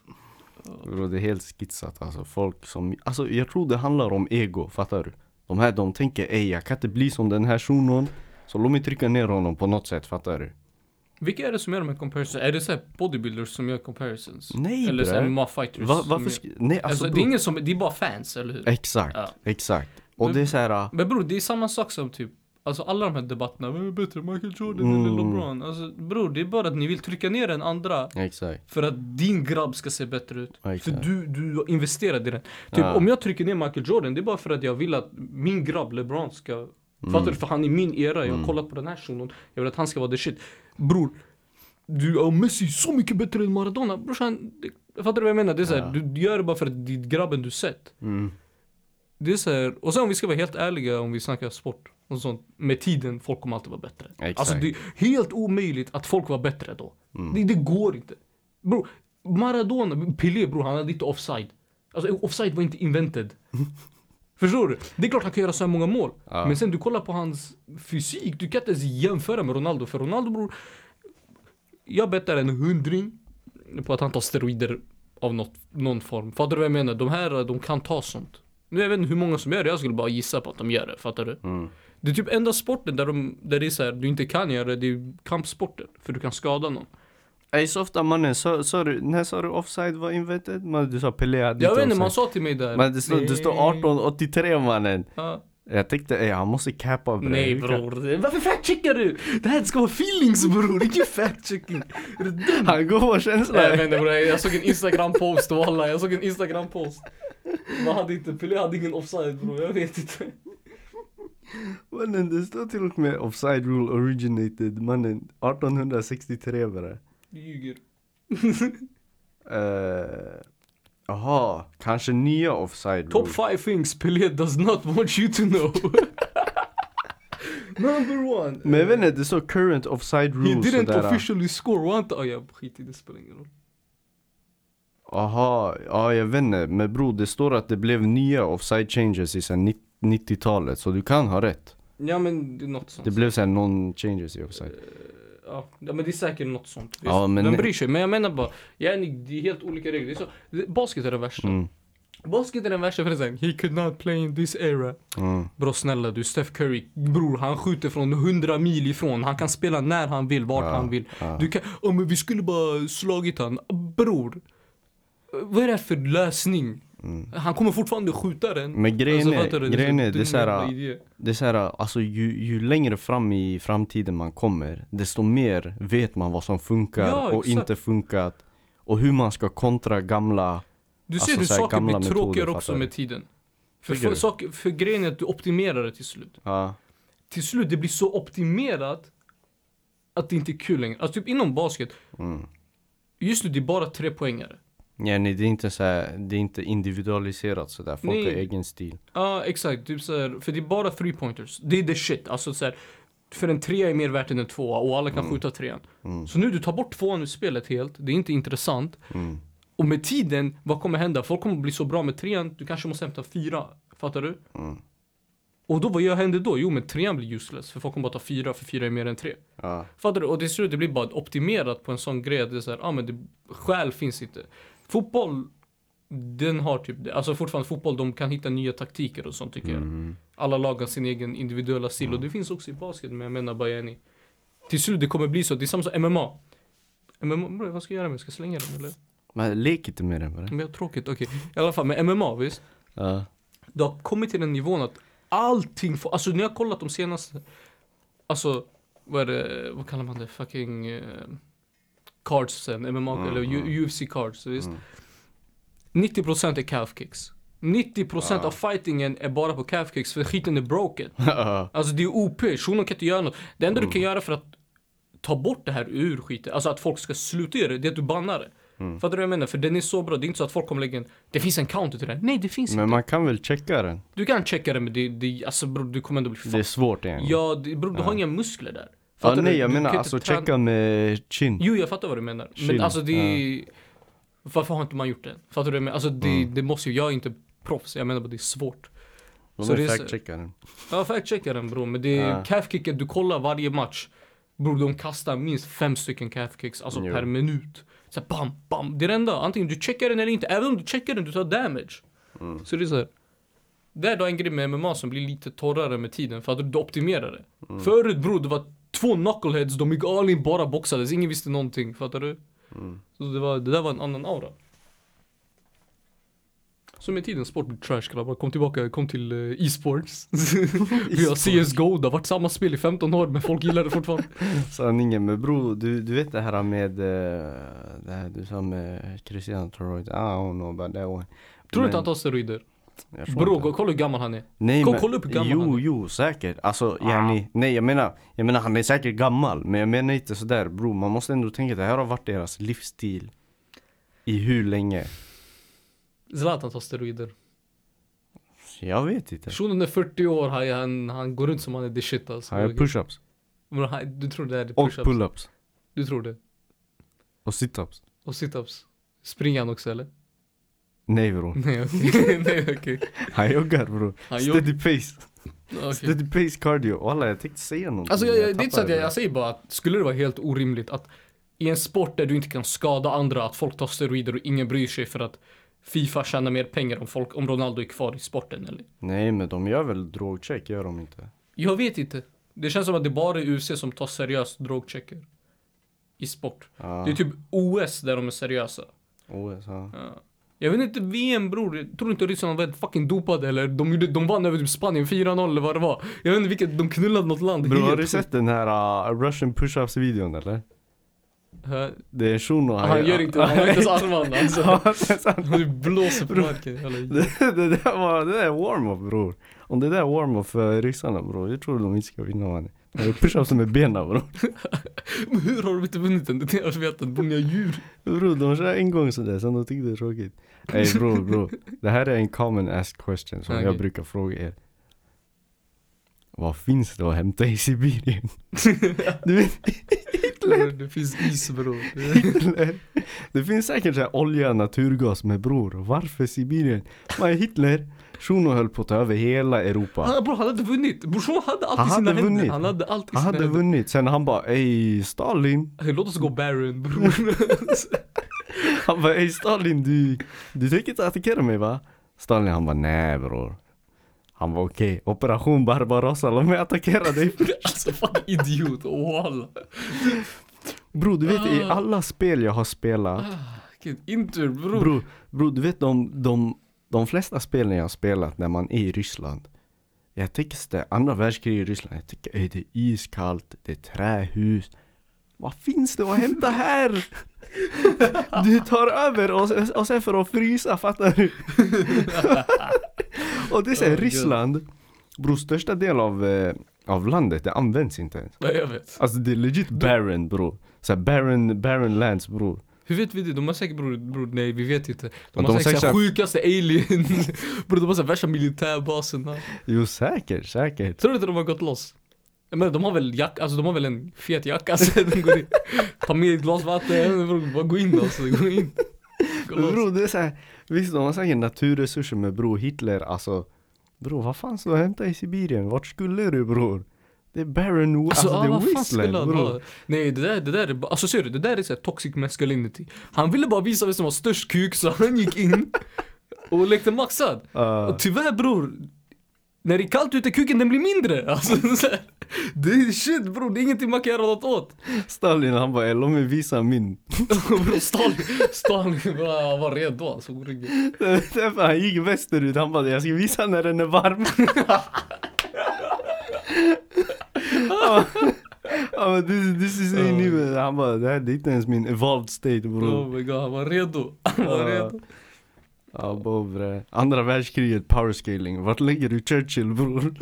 A: Bro, det är helt skitsat alltså. Folk som, alltså jag tror det handlar om ego, fattar du? De här de tänker ej jag kan inte bli som den här shunon Så låt mig trycka ner honom på något sätt, fattar du?
B: Vilka är det som gör de här comparisons? Är det såhär bodybuilders som gör comparisons?
A: Nej
B: Eller såhär
A: bre.
B: MMA-fighters?
A: Va,
B: som
A: varför
B: gör-
A: ska, nej alltså,
B: Alltså, det är
A: bro,
B: ingen som, det är bara fans, eller hur?
A: Exakt,
B: Ja.
A: exakt. Och det är såhär, ah,
B: Men bror, det är samma sak som typ Alltså alla de här debatterna, vem är bättre, Michael Jordan eller
A: Mm.
B: LeBron? Alltså bror, det är bara att ni vill trycka ner den andra
A: exakt.
B: för att din grabb ska se bättre ut.
A: Ja,
B: För
A: exakt.
B: du, du investerade i den. Typ
A: Ja.
B: om jag trycker ner Michael Jordan, det är bara för att jag vill att min grabb LeBron ska...
A: Mm.
B: Fattar du? För han är min era, jag har kollat på den här shunon, jag vill att han ska vara the shit. Bror, du och Messi är så mycket bättre än Maradona. Brorsan, det- fattar du vad jag menar? Det är så här,
A: Ja.
B: du, du gör det bara för att det är grabben du sett.
A: Mm.
B: Det är så här, och sen om vi ska vara helt ärliga om vi snackar sport och sånt. Med tiden, folk kommer alltid vara bättre.
A: Exakt.
B: Alltså det är helt omöjligt att folk var bättre då. Det, det går inte. Bro, Maradona, Pelé bror, han hade inte offside. Alltså offside var inte invented. Förstår du? Det är klart han kan göra så här många mål.
A: Ja.
B: Men sen du kollar på hans fysik, du kan inte ens jämföra med Ronaldo. För Ronaldo bror, jag bettar en hundring på att han tar steroider av något, någon form. Fattar du vad jag menar? De här, de kan ta sånt. Nu jag vet inte hur många som gör det, jag skulle bara gissa på att de gör det. Fattar du?
A: Mm.
B: Det är typ enda sporten där, de, där det är så här, du inte kan göra det, det är kampsporten. För du kan skada någon.
A: Ej så ofta mannen, sa, sa du, när sa du offside var invented? Man, du sa Pelé hade
B: Jag
A: inte
B: vet inte, man
A: offside.
B: sa till mig där.
A: Men det står, det står 1883 mannen.
B: Ja.
A: Jag tänkte ej han måste cappa bre.
B: Nej
A: Vi kan-
B: bror, varför factcheckar du? Det här ska vara feelings bror, inte factchecking. Är du dum?
A: Han går på känsla.
B: Jag vet inte bror, jag såg en instagram-post walla, jag såg en instagram-post. Man hade inte, Pelé hade ingen offside bror, jag vet inte.
A: Mannen det står till och med offside rule originated mannen 1863 bara.
B: Du ljuger.
A: Eh, Jaha, kanske nya offside
B: Top
A: rules.
B: five things Pelé does not want you to know. Number one.
A: Men jag vet inte, det står current offside
B: He
A: rules
B: didn't
A: sådär.
B: officially score one time. ja, skit i det, spelar ingen roll.
A: Aha, ja jag vet inte. Men bror det står att det blev nya offside changes i sen nitt- 90-talet. Så du kan ha rätt.
B: Ja men det är något sånt.
A: Det blev sen non changes i offside.
B: Eh, Ja, ja, men det är säkert något sånt.
A: Ja,
B: Visst,
A: men-
B: Vem bryr sig? Men jag menar bara, yani, det är helt olika regler. Det är så, det, basket är det värsta.
A: Mm,
B: Basket är den värsta för det är så här, He could not play in this era.
A: mm.
B: Bro snälla du, Steph Curry, bror han skjuter från 100 mil ifrån. Han kan spela när han vill, vart
A: Ja,
B: han vill.
A: ja.
B: Du kan, ja men vi skulle bara slagit han. Bror, vad är det här för lösning? Han kommer fortfarande skjuta den.
A: Mm. Men grejen
B: Alltså, fattar
A: är,
B: du?
A: grejen är, det är
B: dum jävla
A: såhär,
B: idé.
A: det är såhär, alltså ju, ju längre fram i framtiden man kommer, desto mer vet man vad som funkar
B: Ja,
A: och
B: exakt.
A: inte funkat. Och hur man ska kontra gamla,
B: Du ser
A: Alltså,
B: hur
A: så här
B: saker
A: gamla
B: blir
A: metoder,
B: tråkigare
A: fattar
B: också
A: du?
B: med tiden. För,
A: Tycker
B: för,
A: du?
B: saker, för grejen är att du optimerar det till slut.
A: ja.
B: Till slut det blir så optimerat att det inte är kul längre. Alltså typ inom basket,
A: Mm.
B: just nu det är bara tre poängare.
A: Ja, nej, det är inte så här, det är inte individualiserat sådär. Folk
B: Nej.
A: har egen stil.
B: Ja exakt, typ så här, för det är bara three pointers. Det är the shit. Alltså så här, för en trea är mer värt än en tvåa och alla kan skjuta trean.
A: Mm.
B: Så nu du tar bort tvåan ur spelet helt, det är inte intressant.
A: Mm.
B: Och med tiden, vad kommer hända? Folk kommer bli så bra med trean, du kanske måste hämta fyra. Fattar du?
A: Mm.
B: Och då, vad gör- händer då? Jo men trean blir useless, för folk kommer bara ta fyra, för fyra är mer än tre.
A: Ja.
B: Fattar du? Och till slut det blir bara optimerat på en sån grej att det är såhär, ah, men det, skäl finns inte. Fotboll, den har typ det. Alltså fortfarande fotboll, de kan hitta nya taktiker och sånt tycker jag.
A: Mm.
B: Alla lag har sin egen individuella stil och det finns också i basket men jag menar bara yani. Till slut det kommer bli så, det är samma som MMA. MMA, bro, vad ska jag göra med det? Ska jag slänga den eller?
A: Men lek inte med det bara.
B: Men jag har tråkigt, okej. I alla fall med MMA visst. Mm.
A: Ja.
B: Det har kommit till den nivån att allting får, alltså när jag har kollat de senaste, alltså vad är det, vad kallar man det, fucking eh, cardsen, MMA
A: Mm,
B: eller
A: mm.
B: U- UFC cards, visst?
A: Mm.
B: 90% är calf kicks. 90%
A: Ah.
B: av fightingen är bara på calf kicks för skiten är broken.
A: Ja.
B: Alltså det är OP, shunon kan inte göra något. Det enda du
A: Mm.
B: kan göra för att ta bort det här ur skiten, alltså att folk ska sluta göra det, det är att du bannar det.
A: Mm.
B: Fattar du vad jag menar? För den är så bra, det är inte så att folk kommer lägga en, det finns en counter till den. Nej det finns
A: Men man kan väl checka den?
B: du kan checka det men det, det alltså bror du kommer ändå bli
A: Det är
B: fucked.
A: svårt egentligen.
B: Ja, det, bror du har inga muskler där.
A: Ja,
B: du?
A: nej jag
B: Du
A: menar
B: kan inte
A: alltså
B: träna-
A: checka med chin.
B: Jo, jag fattar vad du menar. Men
A: Chill.
B: alltså det är... Varför har inte man gjort det? Fattar du vad jag menar? Alltså det,
A: Mm.
B: det måste ju, jag är inte proffs. Jag menar bara det är svårt.
A: De
B: så det
A: är
B: är så-
A: fact checka den.
B: Ja, fact-checka den bror. Men det är
A: Ja.
B: calf-kicken, du kollar varje match. Bror de kastar minst fem stycken calf-kicks, alltså
A: Jo.
B: per minut. Så här, bam, bam. Det är det enda. Antingen du checkar den eller inte. Även om du checkar den, du tar damage.
A: Mm.
B: Så det är så här. Där då är en grej med MMA som blir lite torrare med tiden för att du optimerar det.
A: Mm.
B: Förut bror, det var två knuckleheads, de gick all in bara boxades, ingen visste någonting, fattar du?
A: Mm.
B: Så det, var, det där var en annan aura. Så med tiden, sport blir trash grabbar. Kom tillbaka, kom till eh, e-sports. Vi har CSGO, det har varit samma spel i 15 år men folk gillar det fortfarande.
A: Sanningen men bro, du, du vet det här med eh, det här du sa med Ah, Christian Troyd. I don't know about that one.
B: Tror du
A: Men-
B: inte han tar steroider?
A: Jag tror
B: Bro,
A: inte.
B: gå- kolla hur gammal han är.
A: Nej,
B: Kolla-
A: men,
B: kolla upp hur gammal Ah.
A: jo,
B: han är.
A: Jo, säkert. Alltså, yani, nej jag menar, jag menar han är säkert gammal. Men jag menar inte sådär bro. Man måste ändå tänka det här har varit deras livsstil. I hur länge?
B: Zlatan tar steroider.
A: Jag vet inte.
B: Shunon är 40 år, han, han, han går runt som han är the shit alltså.
A: Han gör push-ups.
B: Men han- Du tror det är
A: Och
B: push-ups?
A: pull-ups.
B: Du tror det?
A: Och sit-ups.
B: Och situps? Springer han också eller?
A: Nej bror.
B: Nej okej. Nej okej.
A: Han joggar bror.
B: Han jogg-
A: Steady pace.
B: Okej.
A: Steady pace cardio. Walla jag tänkte säga någonting.
B: Alltså jag, jag, det är inte så att
A: tappade
B: jag, jag säger bara att skulle det vara helt orimligt att i en sport där du inte kan skada andra att folk tar steroider och ingen bryr sig för att Fifa tjänar mer pengar om, folk, om Ronaldo är kvar i sporten eller?
A: Nej men de gör väl drogcheck, gör de inte?
B: Jag vet inte. Det känns som att det bara är UFC som tar seriöst drogchecker. I sport.
A: Ja, oh,
B: Det är typ OS där de är seriösa.
A: OS, ja.
B: Ja. Jag vet inte, VM bror. Jag tror inte Ryssland var fucking dopade eller de, gjorde, de vann över typ Spanien 4-0 eller vad det var. Jag vet inte vilket, de knullade något land.
A: Bror har
B: helt.
A: du sett den här uh, Russian push-ups videon eller?
B: Ja,
A: Det är shuno
B: Han gör inte, han har inte ens armarna alltså.
A: armarna.
B: Du blåser på marken. jävla-
A: det där var, det där är warm-up bror. Om det där är warm-up för ryssarna bror, jag tror de inte ska vinna mannen. Jag gör pushups med benen bror.
B: Men hur har de inte vunnit den? Det är vetat, bor ni har djur?
A: Bror de kör en gång sådär, sen de tyckte det är tråkigt. Ey bror bror, det här är en common asked question som jag
B: Okej.
A: brukar fråga er. Vad finns det att hämta i Sibirien? Du vet,
B: Det finns is bror.
A: Hitler. Det finns säkert så här olja, naturgas med bror. Varför Sibirien? Man Hitler, shunon höll på att ta över hela Europa.
B: Han, Ah, bror, han hade vunnit. Brorsan hade allt
A: Han
B: i sina
A: hade
B: händer.
A: vunnit.
B: Han hade allt i
A: Han
B: sina
A: hade
B: händer.
A: vunnit, sen han bara ey Stalin.
B: Hey, låt oss gå Baron bror.
A: Han bara ey Stalin du, du tänker inte attackera mig va? Stalin han bara nej bror. Han var okej, operation Barbarossa, låt mig attackera dig.
B: alltså fucking idiot. Walla.
A: Bror du vet i
B: Ah.
A: alla spel jag har spelat,
B: Ah, vilket Inter bror.
A: bror, bror du vet de, de, de flesta spelen jag har spelat när man är i Ryssland. Jag tycker det är andra världskriget i Ryssland, jag tycker ey, det är iskallt, det är trähus. Vad finns det att hämta här? Du tar över och, och sen för att frysa, fattar du? och det är såhär,
B: Oh my God.
A: Ryssland, bror största del av, eh, av landet, det används inte ens.
B: Nej jag vet.
A: Alltså det är legit barren bror. Såhär barren, barren lands bror.
B: Hur vet vi det? De har säkert bror, bror nej vi vet inte. De
A: Men
B: har
A: de
B: säkert
A: säger
B: såhär sjukaste aliens. bror de har såhär värsta militärbaserna.
A: Jo säkert, säkert.
B: Tror du inte de har gått loss? Men de har väl jacka, alltså de har väl en fet jacka sen de går in. Ta med ett glas vatten, bror, bara gå in alltså, gå in. Gå loss.
A: Bror det är såhär, visst de har säkert naturresurser men bror Hitler alltså. Bror vad fan ska du hämta i Sibirien? Vart skulle du bror? Det är barren,
B: Alltså,
A: alltså,
B: ah,
A: det
B: vad
A: är
B: fan
A: wasteland
B: skulle han
A: bror.
B: ha? Nej det där, det där är bara, alltså ser du, det där är såhär toxic masculinity. Han ville bara visa vem som var störst kuk så han gick in och lekte maxad.
A: Uh,
B: Och tyvärr bror, när det är kallt ute kuken den blir mindre. Alltså, så här, det är shit bror, det är ingenting man kan göra något åt.
A: Stalin han bara, "Eh, låt mig visa min.
B: Bror, Stalin, Stalin var, var redo alltså. bror.
A: Det är Därför han gick västerut, han bara jag ska visa när den är varm. Han bara Ah, this, this is
B: Oh
A: me
B: my
A: nu. Han bara det här det är inte ens min evolved state bror. Ah.
B: Oh my god, han var redo. Han var
A: Ja.
B: redo.
A: Ja bror bre. Andra världskriget, powerscaling. Vart lägger du Churchill bror?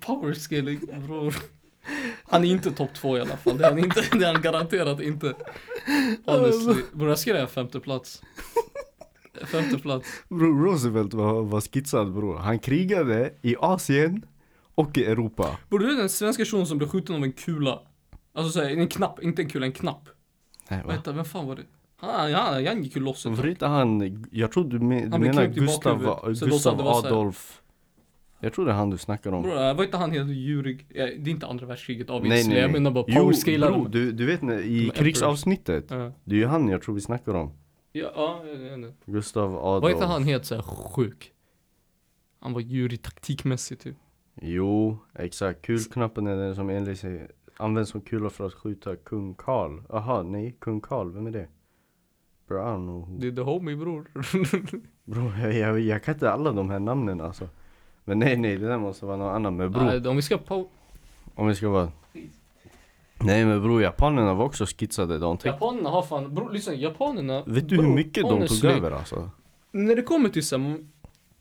B: Power scaling bror. Han är inte topp två i alla fall. Det är han, inte, det är han garanterat inte. Honestly. Bror jag skrev femte plats. Femte plats.
A: Bror Roosevelt var, var skitsad bror. Han krigade i Asien och i Europa.
B: Bror du vet den svenska shunon som blev skjuten av en kula. Alltså såhär, en knapp, inte en kula, en knapp.
A: Nej va?
B: Vänta, vem fan var det? Han, han, han gick ju loss ett
A: Varför
B: tag.
A: inte han, jag tror du, men, du
B: Han blev
A: menar
B: knäppt i
A: Gustav,
B: bakhuvudet, så då sa
A: Gustav
B: det var så här.
A: Adolf. Jag tror det är han du snackar om.
B: Bror, äh, var inte han helt djurig? Ja, Det är inte andra världskriget
A: nej
B: obviously,
A: nej
B: jag
A: nej.
B: menar bara
A: Jo
B: powerscalade.
A: bror, du, du vet när, i
B: emperors.
A: krigsavsnittet.
B: Ja,
A: Det är ju han jag tror vi snackar om.
B: ja, ja, ja, ja.
A: Gustav Adolf.
B: Var inte han helt såhär sjuk? Han var djurig taktikmässigt typ.
A: Jo, exakt. Kulknappen är den som enligt sig används som kula för att skjuta kung Karl. Aha, nej, kung Karl, vem är det? Brown
B: Det är the homie bror.
A: Bro, jag, jag, jag kan inte alla de här namnen alltså. Men nej, nej, det där måste vara någon annan. Men bro,
B: Nej, om vi ska pow...
A: om vi ska vara... Nej men bro, japanerna var också skitsade. De tänkte...
B: Japanerna har fan, bror lyssna, japanerna.
A: Vet du hur
B: bror,
A: mycket de tog
B: honestly,
A: över alltså?
B: När det kommer till såhär,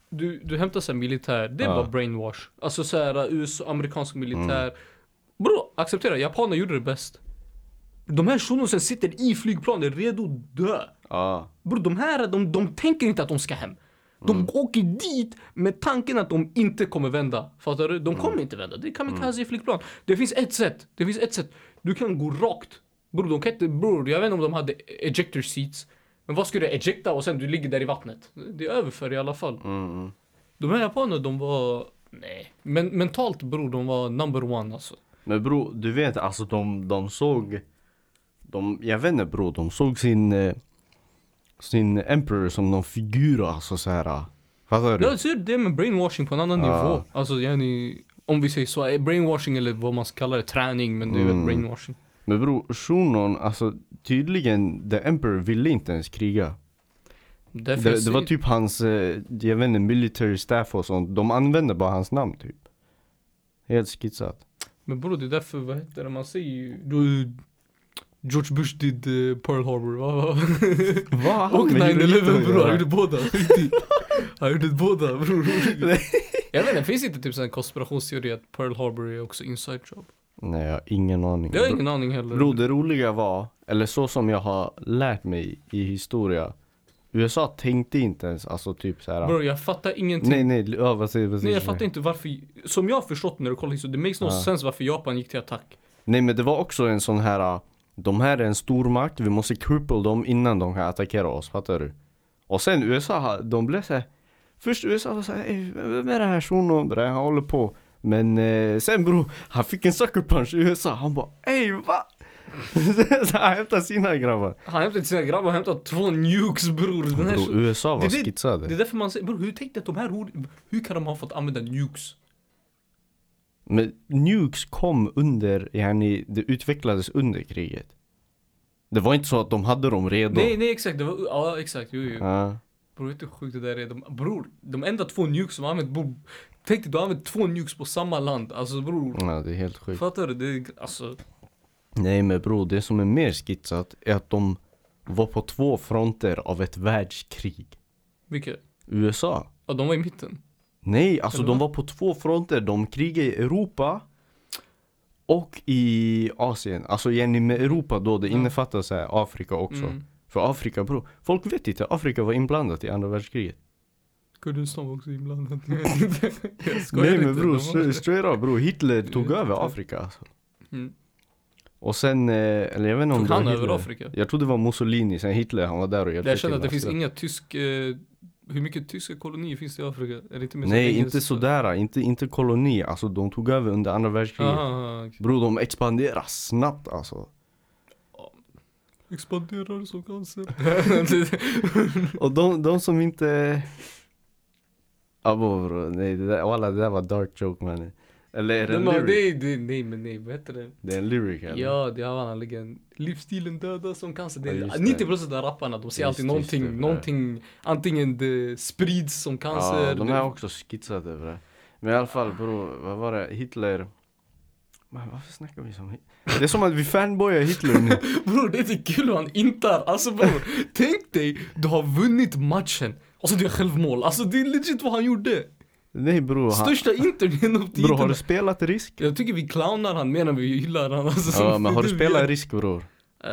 B: du, du hämtar såhär militär, det är
A: Ja.
B: bara brainwash. Alltså såhär USA, amerikansk militär.
A: Mm.
B: Bror, acceptera, japanerna gjorde det bäst. De här shunosen sitter i flygplanet redo att dö.
A: Ja.
B: Bror de här, de, de tänker inte att de ska hem. De
A: Mm.
B: åker dit med tanken att de inte kommer vända. Fattar du? De
A: Mm.
B: kommer inte vända. Det är kamikaze-flygplan. Det finns ett sätt. Det finns ett sätt. Du kan gå rakt. Bror, de kan inte... Bror, jag vet inte om de hade ejector seats. Men vad ska du ejecta och sen du ligger där i vattnet? Det är över för i alla fall.
A: Mm, mm.
B: De här japanerna, de var... Nej. Men mentalt bror, de var number one alltså.
A: Men bro, du vet alltså de, de såg de, Jag vet inte bro, de såg sin eh, Sin emperor som någon figur alltså så här. Fattar du? Ah.
B: Ja, ser du? Det är med brainwashing på en annan
A: Ja.
B: nivå. Alltså, yani, om vi säger så, eh, brainwashing eller vad man ska kalla det, träning, men det är
A: Mm.
B: väl brainwashing.
A: Men bro, shunon alltså tydligen the emperor ville inte ens kriga
B: Därför jag
A: Det, det
B: säger-
A: var typ hans, eh, jag vet inte, military staff och sånt De använde bara hans namn typ Helt skitsat
B: Men bror det är därför, vad heter det, man säger ju du, George Bush did eh, Pearl Harbor va? va?
A: Vad har han
B: Och
A: med
B: 9-11
A: Hirohito att
B: bror, han
A: göra?
B: gjorde båda. riktigt. Han gjorde båda bror.
A: Nej.
B: Jag vet inte, finns det inte typ sån här konspirationsteori att Pearl Harbor är också inside job?
A: Nej jag har ingen aning.
B: Jag har ingen aning heller.
A: Bro, det roliga var, eller så som jag har lärt mig i historia. USA tänkte inte ens, alltså typ så här.
B: Bro, jag fattar ingenting.
A: nej nej, ja, vad säger, vad säger
B: Nej jag fattar inte varför, som jag har förstått när du kollar så det makes no
A: Ja.
B: sense varför Japan gick till attack.
A: nej men det var också en sån här, äh, de här är en stormakt, vi måste cripple dem innan de kan attackera oss, fattar du? Och sen USA, ha- de blev såhär, först USA var såhär, "Ey, vem är det här shunon bre, han håller på. Men eh, sen bro, han fick en sucker punch i USA, han bara ey va? så han hämtade sina grabbar.
B: Han hämtade sina grabbar, han hämtade två nukes bror. Den här
A: Bro,
B: så...
A: USA var
B: Det är det-
A: skitsade.
B: Det är därför man säger, bror hur tänkte att de här, hor- hur kan de ha fått använda nukes?
A: Men nukes kom under, yani, det utvecklades under kriget. Det var inte så att de hade dem redo.
B: Nej nej exakt, det var, ja exakt, jo jo.
A: Ja.
B: Bror vet du hur sjukt det där är? De, bror, de enda två nukes som har använt, bror. Tänk dig du har använt två nukes på samma land, alltså bror.
A: ja, det är helt sjukt.
B: Fattar du? Det är, alltså,
A: Nej men bro, det som är mer skitsat är att de var på två fronter av ett världskrig.
B: vilket?
A: USA.
B: Ja de var i mitten.
A: Nej, alltså
B: Eller
A: de
B: vad?
A: var på två fronter. De krigade i Europa och i Asien. Alltså Jenny med Europa då, det
B: Ja.
A: innefattar så här Afrika också.
B: Mm.
A: För Afrika bro, folk vet inte, Afrika var inblandat i andra världskriget.
B: Kurdistan var också inblandad. Jag skojar
A: Nej men
B: inte,
A: bror,
B: de var-
A: stra- straight up bror. Hitler tog
B: Det är
A: över
B: inte-
A: Afrika alltså.
B: Mm.
A: Och sen, eh, eller jag vet inte om
B: Tog
A: det var
B: han över
A: Hitler.
B: Afrika?
A: Jag tror det var Mussolini, sen Hitler, han var där och hjälpte
B: Jag känner att det
A: till,
B: finns
A: alltså.
B: inga tysk... Eh, hur mycket tyska kolonier finns det i Afrika? Är det inte mer som
A: Nej
B: engelska?
A: inte sådär, inte, inte koloni, alltså de tog över under andra världskriget.
B: Aha, okej.
A: Bror de expanderar snabbt alltså.
B: Expanderar som cancer.
A: Och de, de som inte... Ja bror, bror, nej det där, alla, det där var dark joke mannen. Eller är det en
B: Men
A: lyric?
B: nej, nej, nej, men nej, vad heter det?
A: Det är en lyric eller?
B: Ja, det har han legend. Livsstilen dödar som cancer. Det är,
A: Ja, just det.
B: 90% av rapparna, de säger
A: Just,
B: alltid
A: just det,
B: någonting,
A: det där.
B: någonting, antingen det sprids som cancer.
A: Ja, de
B: det-
A: är också skitsade över det. Men i alla fall bror, vad var det? Hitler... Men varför snackar vi som Hit- Det är som att vi fanboyar Hitler nu.
B: Bror det är inte kul hur han intar, alltså bror Tänk dig, du har vunnit matchen Och så du gör självmål, alltså det är legit vad han gjorde
A: Nej bror, han...
B: Största intern genom
A: Bror har
B: tiderna
A: du spelat risk?
B: Jag tycker vi clownar han mer än vi gillar han alltså,
A: Ja
B: som-
A: men har du
B: vet.
A: spelat risk bror?
B: Eh,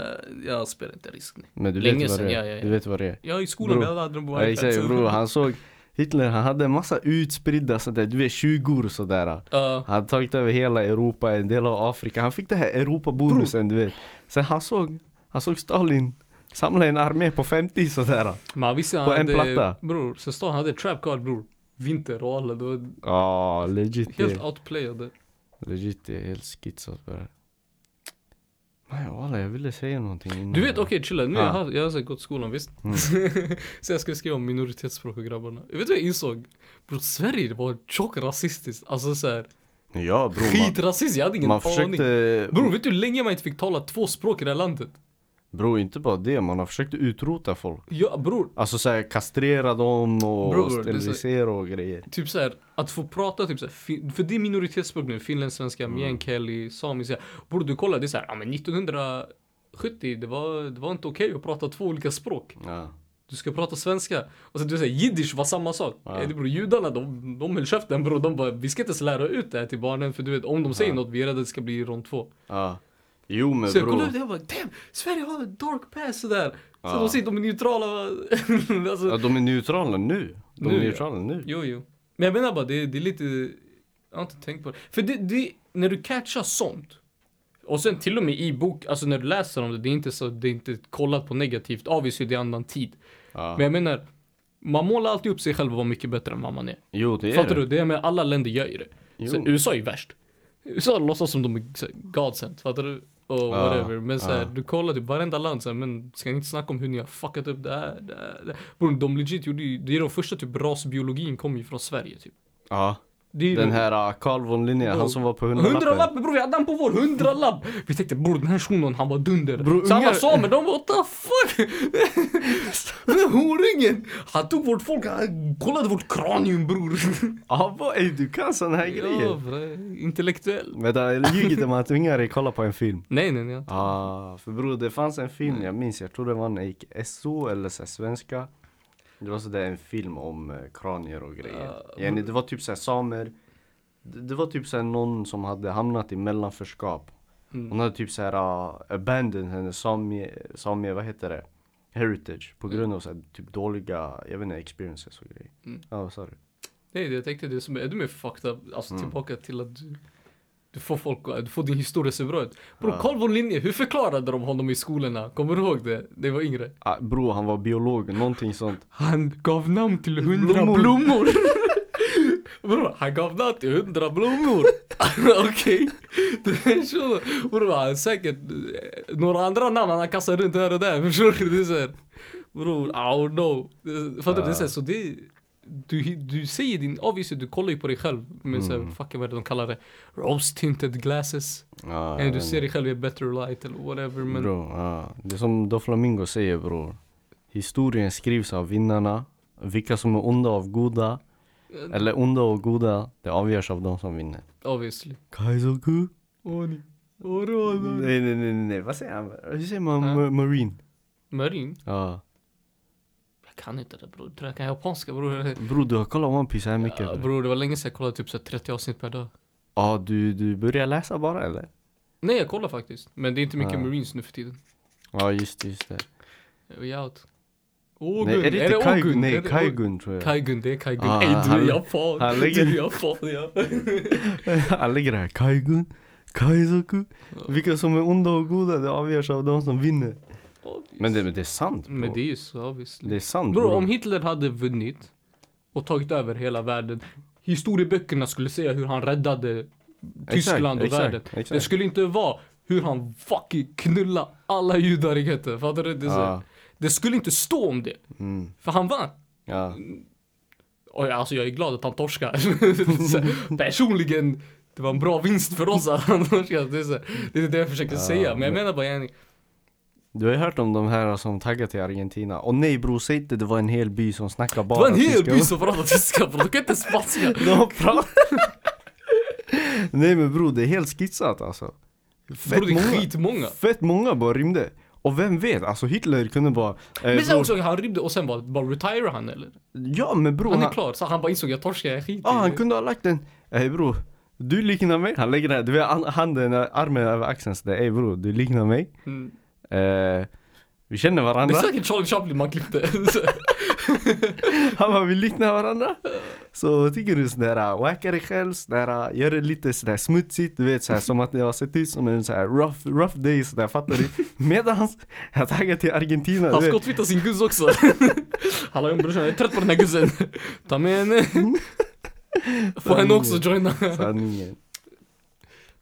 B: jag spelar inte risk nej.
A: Men du
B: Länge
A: vet vad
B: sedan,
A: det är.
B: ja, ja, ja.
A: Du vet vad det är.
B: Jag är i skolan,
A: Bro.
B: jag hade den på
A: Ja,
B: iPad
A: exakt bror, han såg Hitler, han hade en massa utspridda sånt där, du vet 20 och sådär.
B: Ja.
A: Han hade tagit över hela Europa, en del av Afrika. Han fick det här Europa-bonusen du vet. Sen han såg, han såg Stalin samla en armé på 50 sådär.
B: Men han visste han
A: På en
B: hade,
A: platta.
B: Bror, sen stod han hade trap card bror Vinter och alla, det var
A: Ja, legit. det-
B: helt outplayade
A: Legit, det är helt skitsat på det här. Nej walla, jag ville säga någonting innan.
B: Du vet, okej chilla, nu
A: Ja.
B: jag har jag har så här gått skolan visst?
A: Ah. Mm.
B: så jag skulle skriva om minoritetsspråk och grabbarna Vet du vad jag insåg? Bror Sverige det var tjockt rasistiskt, alltså såhär
A: Ja bror, man,
B: Skitrasistiskt, jag hade ingen
A: man
B: aning
A: försökte...
B: Bror vet du hur länge man inte fick tala två språk i det här landet?
A: Bror inte bara det, man har försökt utrota folk.
B: Ja bror,
A: Alltså såhär kastrera dem och
B: Bror, det är så-
A: sterilisera och grejer.
B: typ såhär att få prata typ såhär, fin- för det är minoritetsspråk nu, finlandssvenska,
A: Mm.
B: meänkieli, samiska Bror du kolla, det är såhär, ja men 1970 det var, det var inte okej att prata två olika språk
A: Ja.
B: Du ska prata svenska. Och sen du säger jiddisch var samma sak.
A: Ja.
B: Ja. Det beror, judarna de, de höll käften bror. De bara vi ska inte ens lära ut det här till barnen för du vet om de säger
A: Ja.
B: något vi är rädda det ska bli rond två.
A: ja. Jo men
B: Så jag
A: bror.
B: kollade upp det och bara damn Sverige har en dark pass sådär. Så
A: Ja.
B: de sitter de är neutrala. alltså,
A: Ja, de är neutrala nu. De
B: Nu,
A: är
B: ja.
A: neutrala nu.
B: Jo jo. Men jag menar bara det, det är lite, jag har inte tänkt på det. För det, det när du catchar sånt. Och sen till och med i bok, alltså när du läser om det, det är inte så, det är inte kollat på negativt. Obviously det är annan tid.
A: Ja.
B: Men jag menar, man målar alltid upp sig själv och vara mycket bättre än vad man är.
A: jo det är
B: Fattar
A: det.
B: du? Det är med alla länder gör ju det.
A: Jo.
B: Så USA är ju värst. USA låtsas som de är så här godsent, fattar du? Och whatever. Men så här,
A: ja.
B: du kollar typ varenda land så här, men ska ni inte snacka om hur ni har fuckat upp det här, det här, det här. Bror, de legit gjorde ju, det är de första typ rasbiologin kom ju från Sverige typ.
A: Ja.
B: Det är ju
A: Den
B: de-
A: här uh, Carl von Linné, han som var på hundralappen.
B: Hundralappen bror, vi hade han på vår hundralapp! Vi tänkte bror den här shunon han var dunder.
A: Bror,
B: så han
A: ungar-
B: var samer, de bara what the fuck! den här horungen! Han tog vårt folk, han kollade vårt kranium bror.
A: Ja Ah, vad, ey du kan sån här
B: ja,
A: grejer.
B: bre, intellektuell.
A: Vänta, jag ljuger om man tvingar dig kolla på en film. Ah,
B: Nej nej nej. Mm.
A: Ja, för bror det fanns en film, jag minns, jag tror det var när jag gick SO eller så här, svenska. Det var sådär en film om eh, kranier och grejer.
B: Ja,
A: Yani, det var typ såhär samer. Det, det var typ såhär någon som hade hamnat i mellanförskap.
B: Mm.
A: Hon hade typ såhär uh, abandoned hennes samie, samie, vad heter det? Heritage. På grund av såhär typ dåliga, jag vet inte, experiences och grejer.
B: Mm.
A: Ja, vad sa du?
B: Det är det jag tänkte, det är som är ännu mer fucked up. Alltså
A: Mm.
B: tillbaka till att du, du får folk, att- du får din historia se bra ut. Bro,
A: Ja.
B: Carl von Linné, hur förklarade de honom i skolorna? Kommer du ihåg det? Det var yngre.
A: Ah, bro, han var biolog, någonting sånt.
B: Han gav namn till hundra
A: Blommor.
B: blommor. Bror, han gav namn till hundra blommor. Okej. Okay. Bror, han säkert eh, några andra namn han kastar runt här och där. Förstår du? Det är såhär. Bror, I don't know. Det- Fattar du? Det är så här, så det du, du säger din, obviously du kollar ju på dig själv med så såhär, fucking vad är det de kallar det? Rose tinted glasses.
A: Ja,
B: And
A: jag
B: du
A: vet
B: ser dig själv i a better light eller whatever. Men
A: Bro, ja. Det är som Doflamingo säger bror. Historien skrivs av vinnarna. Vilka som är onda av goda. Eller onda och goda, det avgörs av de som vinner.
B: obviously.
A: Kaizoku?
B: Oni. Oroni.
A: Nej nej nej nej, vad säger han? Hur säger man
B: Ja.
A: ma- marine?
B: Marin.
A: Ja.
B: Jag kan inte det bror. Tror jag kan japanska bror.
A: Bror du har kollat One Piece här mycket?
B: Ja,
A: bror.
B: bror, det var länge sedan jag kollade typ så här 30 avsnitt per dag.
A: Ja du, du börjar läsa bara eller?
B: Nej, jag kollar faktiskt. Men det är inte mycket
A: Ja.
B: marines nu för tiden.
A: Ja just det, just det.
B: Vi är out.
A: Nej, är det inte Kaigun? Nej
B: Är det-
A: Kaigun tror jag.
B: Kaigun, det är Kaigun.
A: Ah,
B: Ey, du
A: han-
B: är japan.
A: han lägger-
B: Du är japan, ja.
A: Han lägger det här Kaigun, Kaizoku.
B: Ja.
A: Vilka som är onda och goda det avgörs av de som vinner.
B: Obvious.
A: Men det, men det är sant bror.
B: Men det är ju så obviously.
A: Det är sant
B: Bror,
A: bror.
B: om Hitler hade vunnit och tagit över hela världen. Historieböckerna skulle säga hur han räddade Tyskland och
A: exakt,
B: världen.
A: exakt.
B: Det skulle inte vara hur han fucking knulla alla judar i gettot. Fattar du? Det, är så här-
A: Ja.
B: det skulle inte stå om det.
A: Mm.
B: För han vann.
A: Ja.
B: Och jag, alltså jag är glad att han torskar. Så här, Personligen, det var en bra vinst för oss att han torskade. Det är, så här, det, är det jag försöker
A: Ja,
B: säga. Men
A: men-
B: jag menar bara yani.
A: Du har ju hört om de här som taggat i Argentina. Och nej bror, säg inte det var en hel by som snackade
B: Det
A: bara
B: var en hel
A: tyska.
B: by som pratade tyska bror. Du kan inte spanska.
A: De pratar... Nej men bror, det är helt skissat alltså.
B: Bror det är skitmånga.
A: Fett många bara rymde. Och vem vet, alltså Hitler kunde bara... Eh,
B: Men sen
A: bror-
B: också, han rymde och sen bara, bara retire han eller?
A: Ja men bror,
B: Han är klar. Så han bara insåg jag torskar, jag skiter
A: ah,
B: i
A: han
B: det.
A: kunde ha lagt en... Ey bror, du liknar mig. Han lägger den här, du vet an- handen, eh, armen över axeln sådär. Ey bror, du liknar mig.
B: Mm.
A: Eh, vi känner
B: Det
A: varandra.
B: är säkert Charlie Chaplin man klippte.
A: Han bara, vi liknar varandra. Så tycker du äh, sådär, wacka dig själv, sådär, äh, gör det lite sådär smutsigt, du vet såhär, som att jag har sett ut som en såhär rough, rough day sådär, fattar du? Medans jag taggar till Argentina,
B: Han
A: du vet.
B: skottfittar sin guzz också. Hallå brorsan, jag är trött på den här guzzen. Ta med henne. Få henne också joina.
A: Sanningen.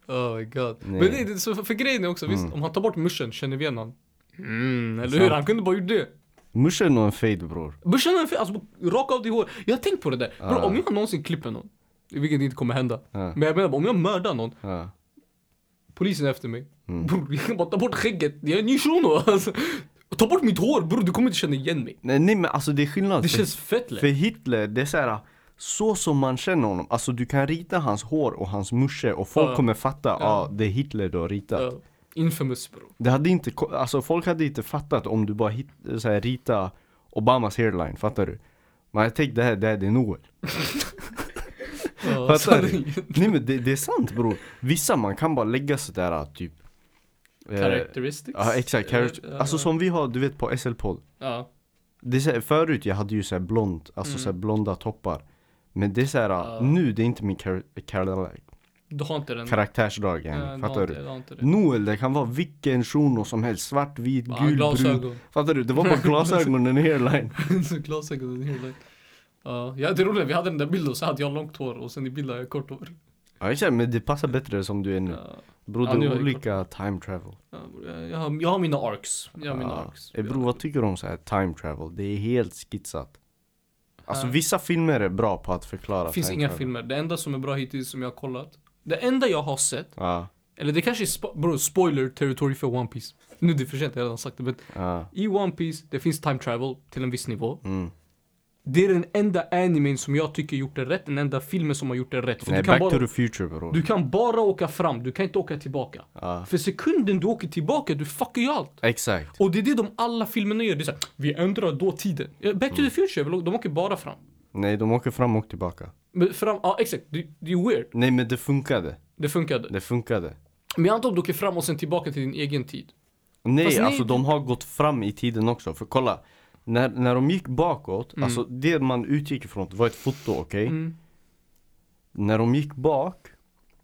B: Oh my god.
A: Nej.
B: Men det, det, så för, för grejen är också, visst,
A: Mm.
B: om han tar bort muschen, känner vi igen han? Mm, eller
A: Sant.
B: hur? Han kunde bara gjort det.
A: Muschen och en fade bror.
B: Muschen är en fe- alltså raka av dig hår. Jag har tänkt på det där. Bro,
A: Ah.
B: om jag någonsin klipper någon, vilket inte kommer hända.
A: Ja,
B: Men jag menar bara, om jag mördar någon,
A: ja.
B: polisen är efter mig.
A: Mm.
B: Bror, jag kan bara ta bort skägget. Jag är en ny shuno alltså. Ta bort mitt hår bror, du kommer inte känna igen mig.
A: Nej, nej men alltså det är skillnad.
B: Det
A: för,
B: känns fett lätt.
A: för Hitler, det är såhär, så som man känner honom. Alltså du kan rita hans hår och hans musche och folk
B: Ja.
A: kommer fatta, ja
B: Ja.
A: ah, det är Hitler du har ritat.
B: Ja, infamous bro.
A: Det hade inte, ko- alltså folk hade inte fattat om du bara hit, eh, så här, rita Obamas hairline, fattar du? Man hade tänkt det här, det här det är Noel.
B: Ja,
A: Fattar
B: så-
A: du? Nej men det, det är sant bror. Vissa man kan bara lägga sådär typ. eh,
B: Characteristics.
A: Ja exakt, character,
B: Eh,
A: alltså som vi har du vet på SL-podd.
B: Ja.
A: Det är så här, förut jag hade ju såhär blont, alltså så här blonda toppar. Men det är såhär,
B: Mm. Ja.
A: nu det är inte min kar- kar-
B: Du har inte den.
A: karaktärsdrag än,
B: Ja, har
A: fattar
B: inte-
A: du?
B: har inte det.
A: Noel det kan vara vilken shuno som helst, svart, vit,
B: Ja,
A: gul, brun.
B: glasögon.
A: Fattar du? Det var bara glasögonen och hairline.
B: Så glasögon är hela. Ja, ja, det roliga vi hade den där bilden och så hade jag långt hår och sen i bilden har jag kort hår.
A: Ja exakt, men det passar bättre som du är nu.
B: Ja,
A: Bror
B: Ja,
A: det
B: nu
A: är
B: har jag
A: olika time travel.
B: ja, bror, jag, jag, har, jag har mina arcs. Jag har mina
A: Ja.
B: arcs.
A: Eh, Bror vad tycker du om så här time travel? Det är helt skitsat. Alltså
B: Ja.
A: vissa filmer är bra på att förklara
B: det finns
A: time
B: inga
A: travel.
B: filmer. Det enda som är bra hittills som jag har kollat. Det enda jag har sett,
A: Ja,
B: eller det kanske är spo- bro, spoiler territory för One Piece. Nu det är för sent, jag har redan sagt det. Men
A: ja.
B: i One Piece, det finns time travel till en viss nivå.
A: Mm.
B: Det är den enda animen som jag tycker gjort det rätt, den enda filmen som har gjort det rätt. För
A: Nej,
B: du, kan
A: back
B: bara,
A: to the future bror.
B: du kan bara åka fram, du kan inte åka tillbaka.
A: Ja,
B: För sekunden du åker tillbaka, du fuckar ju allt.
A: exakt.
B: Och det är det de alla filmerna gör, det är såhär, vi ändrar då tiden. Ja, Back
A: Mm.
B: to the future, väl, de åker bara fram.
A: Nej, de åker fram och tillbaka.
B: Men fram, ja exakt, det, det är weird.
A: Nej, men det funkade.
B: Det funkade.
A: Det funkade.
B: Men jag antar att du åker fram och sen tillbaka till din egen tid.
A: Nej,
B: Fast nej,
A: alltså
B: det-
A: de har gått fram i tiden också. För kolla, när, när de gick bakåt, alltså det man utgick ifrån var ett foto, okej?
B: Mm.
A: När de gick bak,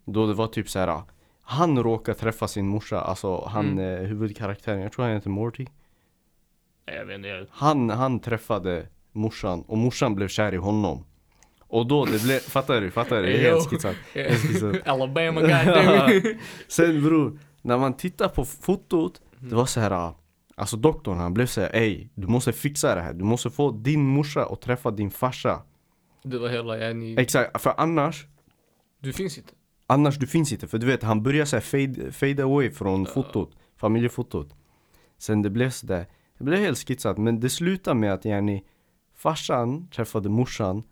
A: då det var typ så här. Han råkade träffa sin morsa, alltså han
B: Mm.
A: eh, huvudkaraktären, jag tror han heter Morty.
B: Nej, Jag vet inte, jag...
A: Han, han träffade morsan och morsan blev kär i honom. Och då det blev, fattar du? Fattar du? Det är helt
B: Jo.
A: skitsat. Helt skitsat.
B: Alabama goddamn.
A: Sen bror, när man tittar på fotot, det var så här. Alltså doktorn han blev såhär ey, du måste fixa det här. Du måste få din morsa att träffa din farsa.
B: det var hela Annie.
A: Exakt, för annars,
B: Du finns inte.
A: annars du finns inte. För du vet, han börjar såhär fade, fade away från fotot, familjefotot. Sen det blev sådär, det blev helt skitsat. Men det slutade med att yani, farsan träffade morsan.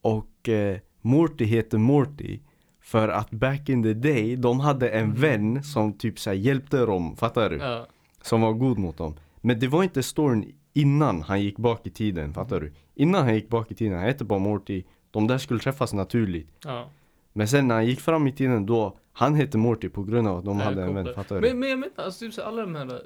A: Och eh, Morty heter Morty. För att back in the day, de hade en vän som typ så här hjälpte dem, fattar du?
B: Ja.
A: Som var god mot dem. Men det var inte storyn innan han gick bak i tiden, fattar du? Innan han gick bak i tiden, han hette bara Morty. De där skulle träffas naturligt.
B: ja.
A: Men sen när han gick fram i tiden då, han hette Morty på grund av att de
B: Nej,
A: hade en
B: kopplar.
A: vän, fattar du?
B: Men, men jag menar, alltså typ så här, alla de här...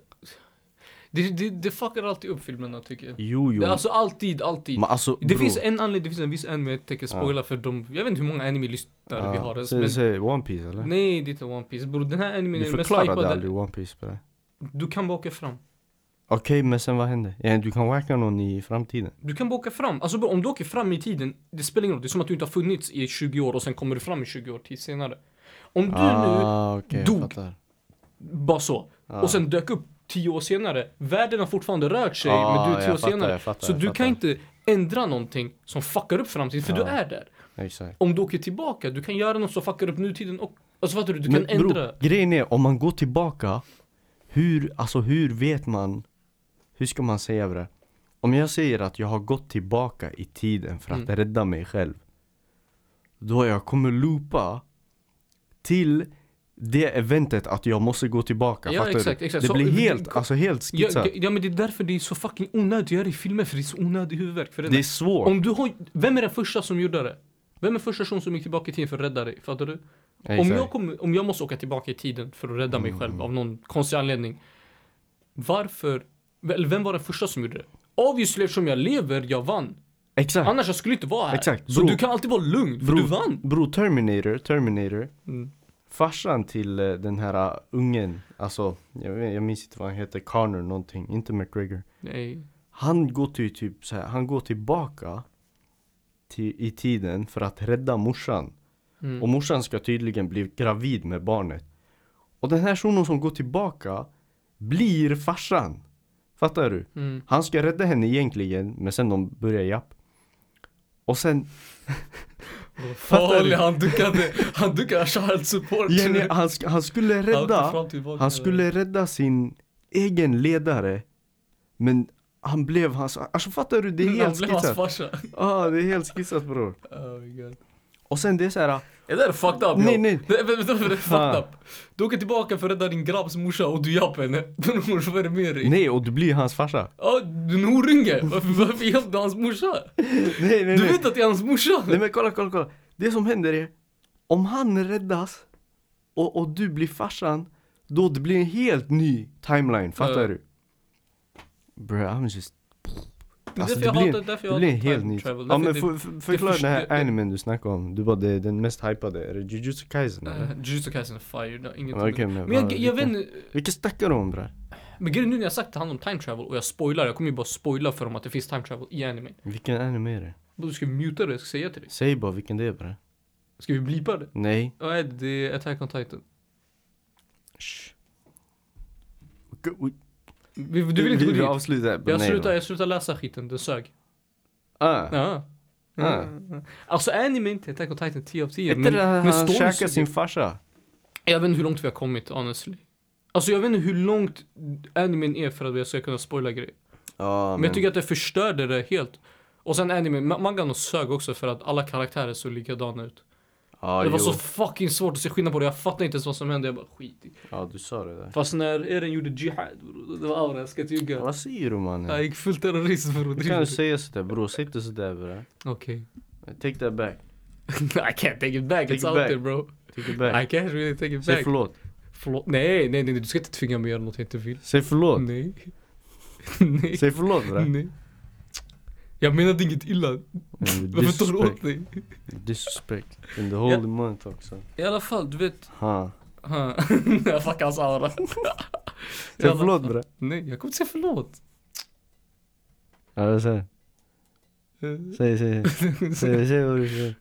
B: Det, det, det fuckar alltid upp filmerna tycker jag.
A: Jo, jo.
B: Det, alltså alltid, alltid.
A: Men alltså
B: det
A: bror.
B: finns en anledning, det finns en viss anime jag tänker spoila för de, jag vet inte hur många anime-lyssnare vi har ens,
A: Säg-
B: men
A: säg One Piece eller?
B: Nej, det är inte One Piece bror, den här animen
A: du
B: är den mest
A: förklarade
B: hypade.
A: aldrig One Piece på det.
B: Du kan bara åka fram.
A: Okej, men sen vad hände? Ja, du kan wacka någon i framtiden.
B: Du kan bara åka fram. Alltså bror, om du åker fram i tiden, det spelar ingen roll. Det är som att du inte har funnits i 20 år och sen kommer du fram i 20 år till senare. Om du nu,
A: ah, okej, jag
B: dog.
A: fattar.
B: bara så, och sen dök upp 10 år senare, världen har fortfarande rört sig,
A: Ah,
B: men du är 10 år
A: jag fattar,
B: senare.
A: jag fattar,
B: så
A: jag
B: du
A: fattar.
B: kan inte ändra någonting som fuckar upp framtiden, för du är där.
A: Exakt.
B: Om du åker tillbaka, du kan göra något som fuckar upp nutiden och... Alltså fattar du? Du kan
A: Men
B: ändra.
A: bror, grejen är om man går tillbaka, hur, alltså hur vet man? Hur ska man säga det? Om jag säger att jag har gått tillbaka i tiden för att
B: Mm.
A: rädda mig själv. Då jag kommer loopa till det eventet att jag måste gå tillbaka.
B: Ja,
A: fattar
B: exakt,
A: du?
B: exakt.
A: Det
B: Så-
A: blir
B: det-
A: helt, alltså helt
B: Ja,
A: skitsat.
B: ja, men det är därför det är så fucking onödigt att göra i filmer, för det är så onödig huvudvärk. För
A: det är svårt.
B: Om du har, vem är den första som gjorde det? Vem är första personen som gick tillbaka i tiden för att rädda dig? Fattar du? Om
A: Exakt. Mm.
B: jag, kommer, om jag måste åka tillbaka i tiden för att rädda mig själv av någon konstig anledning. Varför? Eller vem var den första som gjorde det? Obviously eftersom jag lever, jag vann.
A: Exakt.
B: Annars jag skulle inte vara här.
A: Exakt,
B: Så
A: bro.
B: du kan alltid vara lugn, för
A: Bro,
B: du vann.
A: bro, Terminator, Terminator.
B: Mm.
A: Farsan till eh, den här eh, ungen, alltså jag, vet- jag minns inte vad han heter, Connor någonting, inte McGregor.
B: Nej.
A: Han går till typ så här, han går tillbaka till, i tiden för att rädda morsan.
B: Mm.
A: Och morsan ska tydligen bli gravid med barnet. Och den här sonen som går tillbaka blir farsan. Fattar du?
B: Mm.
A: Han ska rädda henne egentligen, men sen de börjar japp. Och sen Fattar
B: Fattar
A: du?
B: Han duckade, han duckade child support.
A: Jenny, han, sk- han skulle rädda,
B: fram tillbaka.
A: han skulle rädda sin egen ledare. Men han blev hans, alltså fattar du? Det är
B: Han
A: helt
B: blev hans
A: skissat.
B: farsa.
A: Ja, det är helt skissat bror.
B: Oh my god.
A: Och sen det är så här.
B: Det där är fucked up
A: Nej,
B: yo.
A: nej.
B: Det, vänta, vänta, det är
A: Fan.
B: fucked up Du åker tillbaka för att rädda din grabbs morsa och du jappar henne Bror vad är det med dig?
A: nej och du blir hans farsa.
B: Ja, du är en horunge! Varför, varför hjälpte du hans morsa?
A: Nej, nej,
B: Du
A: nej.
B: vet att det är hans morsa?
A: Nej men kolla, kolla, kolla. Det som händer är, om han räddas och, och du blir farsan, då det blir en helt ny timeline, fattar
B: Ja.
A: du? Bro, I'm just...
B: Det är
A: Alltså,
B: därför jag
A: blir en-
B: hatar, därför jag
A: Det blir en
B: hatar
A: helt
B: time
A: ny...
B: travel.
A: Ja
B: Därför
A: men
B: det-
A: för, för, förklara
B: förstör-
A: den här animen du snackade om. Du bara det är den mest hypade. Är det Jujutsu Kaisen eller?
B: Eh, Jujutsu Kaisen är fire, det har inget
A: Ja, okej, men
B: Men jag,
A: vad-
B: jag vet
A: vilken-
B: inte,
A: Vilka snackar du om bre?
B: men grejen är nu när jag sagt till han om time travel och jag spoilar, jag kommer ju bara spoila för dem att det finns time travel i animen
A: Vilken anime är det?
B: Du ska muta det, jag ska säga till dig
A: Säg bara vilken det är bre.
B: Ska vi blipa det?
A: Nej.
B: Nej, det är Attack on Titan
A: Shh. Okej, oj.
B: Vi- Du vill inte gå
A: Vi- vi
B: dit?
A: avslutar på
B: Jag
A: nej
B: slutar,
A: då.
B: jag slutar läsa skiten, den sög
A: Ah.
B: Ja.
A: Ja.
B: Alltså animen till Attack on Titan 10 av 10.
A: Är inte det där han
B: storyn
A: käkar
B: suger.
A: sin farsa?
B: Jag vet inte hur långt vi har kommit honestly. Alltså jag vet inte hur långt animen är för att jag ska kunna spoila grejer.
A: Ja
B: Men jag tycker att det förstörde det helt. Och sen anime, Ma- Mangano sög också för att alla karaktärer såg likadana ut.
A: Ja,
B: det var
A: Ah, jo.
B: så fucking svårt att se skillnad på det, jag fattade inte ens vad som hände, jag bara skit i.
A: Ja, du sa det där.
B: Fast när Eren gjorde jihad bror, det var aura, jag ska inte ljuga.
A: Vad säger du
B: Jag
A: mannen?
B: gick full terrorist bror.
A: Du
B: driver
A: kan
B: du?
A: ju säga sådär bror, säg inte sådär bre.
B: Okej.
A: Take that back.
B: I can't take it back,
A: Take
B: it's
A: it
B: out
A: back.
B: there bro.
A: Take it
B: I
A: back.
B: can't really take it
A: Säg
B: back.
A: förlåt.
B: Förlåt. Nej, nej, nej, du ska inte tvinga mig att göra något jag inte vill.
A: Säg förlåt.
B: Nej. nej.
A: Säg förlåt bre.
B: nej. Jag menade inget illa. Varför tar du åt
A: Disrespect.
B: dig?
A: Disrespect. In the holy month också.
B: I alla fall, du vet.
A: Ha.
B: Ha. jag fuckar hans aura. I
A: Säg
B: alla
A: förlåt
B: fall.
A: bre.
B: Nej, jag kommer inte säga förlåt.
A: Ja, jag säger.
B: Eh,
A: Säg, säg. Säg, säg vad du säger.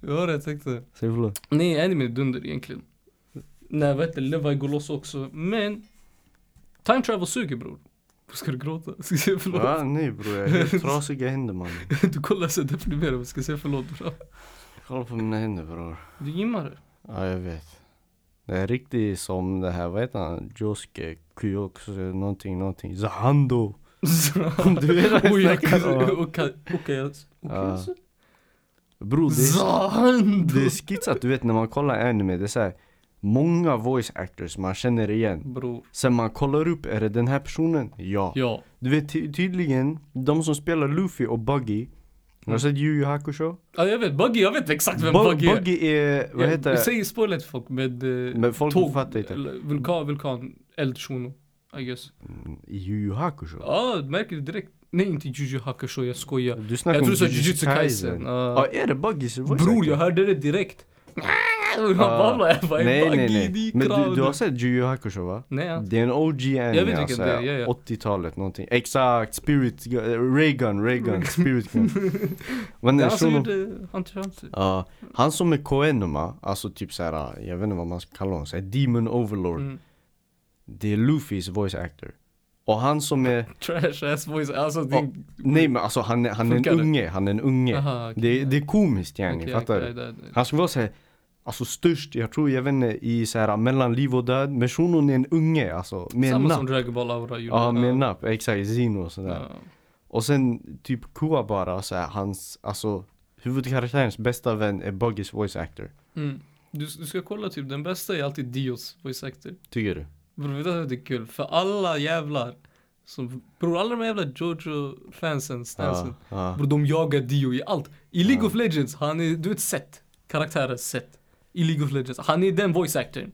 B: Jag hörde, jag tänkte.
A: Säg förlåt.
B: Nej, anime är dunder egentligen. Nej, vad heter det? Levi går loss också. Men. Time travel suger bror. Ska du gråta? Ska jag säga förlåt?
A: Ja, nej bror, jag har helt trasiga händer mannen.
B: Du kollar så deprimerad Ska jag säga förlåt bror?
A: Kolla på mina händer bror.
B: Du gymmar det.
A: Ja, jag vet. Det är riktigt som det här, vad heter han? Josuke Kyoks, någonting, någonting. Zahando. Du vet vad jag snackar om. Ja.
B: Okej.
A: Bror, det är,
B: Zando!
A: det är skitsat. Du vet när man kollar anime, det är så här, många voice actors man känner igen.
B: Bror.
A: Sen man kollar upp, är det den här personen? Ja.
B: Ja.
A: Du vet ty- tydligen, de som spelar Luffy och Buggy. Har du sett Yu Yu Hakusho?
B: Ja jag vet, Buggy, jag vet exakt vem
A: Bu-
B: Buggy är.
A: Buggy är, vad heter
B: jag,
A: det?
B: säg spoilet till folk med... eh,
A: Men folk
B: tåg-
A: fattar inte.
B: eller Vulkan, vulkan, eld, shuno. I guess.
A: I Yu Yu Hakusho?
B: Ja, du märker det direkt. Nej inte Juju Hakusho, jag skojar.
A: Du snackar
B: Jag tror
A: om
B: du sa Jujutsu Kaisen.
A: Ja,
B: Ja.
A: är det Buggys voice
B: Bror
A: actor?
B: jag hörde det direkt. Han babblar, jag bara
A: Nej
B: Buggy,
A: nej nej.
B: ni
A: Men du,
B: crowd.
A: du har sett Yu Yu Hakusho va?
B: Nej, ja.
A: Det är en OG
B: Jag vet
A: anime
B: vilken
A: alltså,
B: det är, ja, ja.
A: 80-talet någonting. Exakt, Spirit, eh, Gun- Raygun, Raygun, Spirit Gun. Men
B: alltså, Det är
A: den shunon,
B: han som gjorde Hunter x Hunter.
A: ja, han som är Koenuma, alltså typ såhär, jag vet inte vad man ska kalla honom, såhär Demon Overlord.
B: Mm.
A: Det är Luffys voice actor. Och han som är,
B: Trash ass voice, alltså det...
A: Ja, nej men alltså han är, han är en
B: Funkar det?
A: unge, han är en unge.
B: Aha, okej.
A: Det, det är komiskt yani,
B: Okej,
A: fattar
B: okej,
A: du?
B: det- det-
A: Han ska vara såhär, alltså störst, jag tror jag vet inte, i såhär mellan liv och död. Men shunon är en unge alltså, med
B: Samma
A: napp.
B: som Dragon Ball Aura gjorde.
A: Ja, med napp, exakt, Zino och sådär.
B: Ja.
A: Och sen typ Kua bara, såhär, hans, alltså huvudkaraktärens bästa vän är Buggys voice actor.
B: Mm. Du, du ska kolla typ, den bästa är alltid Dios voice actor.
A: Tycker du?
B: Bror vet du vad det är kul? För alla jävlar som, bror alla de här jävla Jojo-fansen, stansen.
A: ja.
B: Bror de jagar Dio i allt. I League of Legends, han är, du vet Seth. Karaktären Seth. I League of Legends, han är den voice actorn.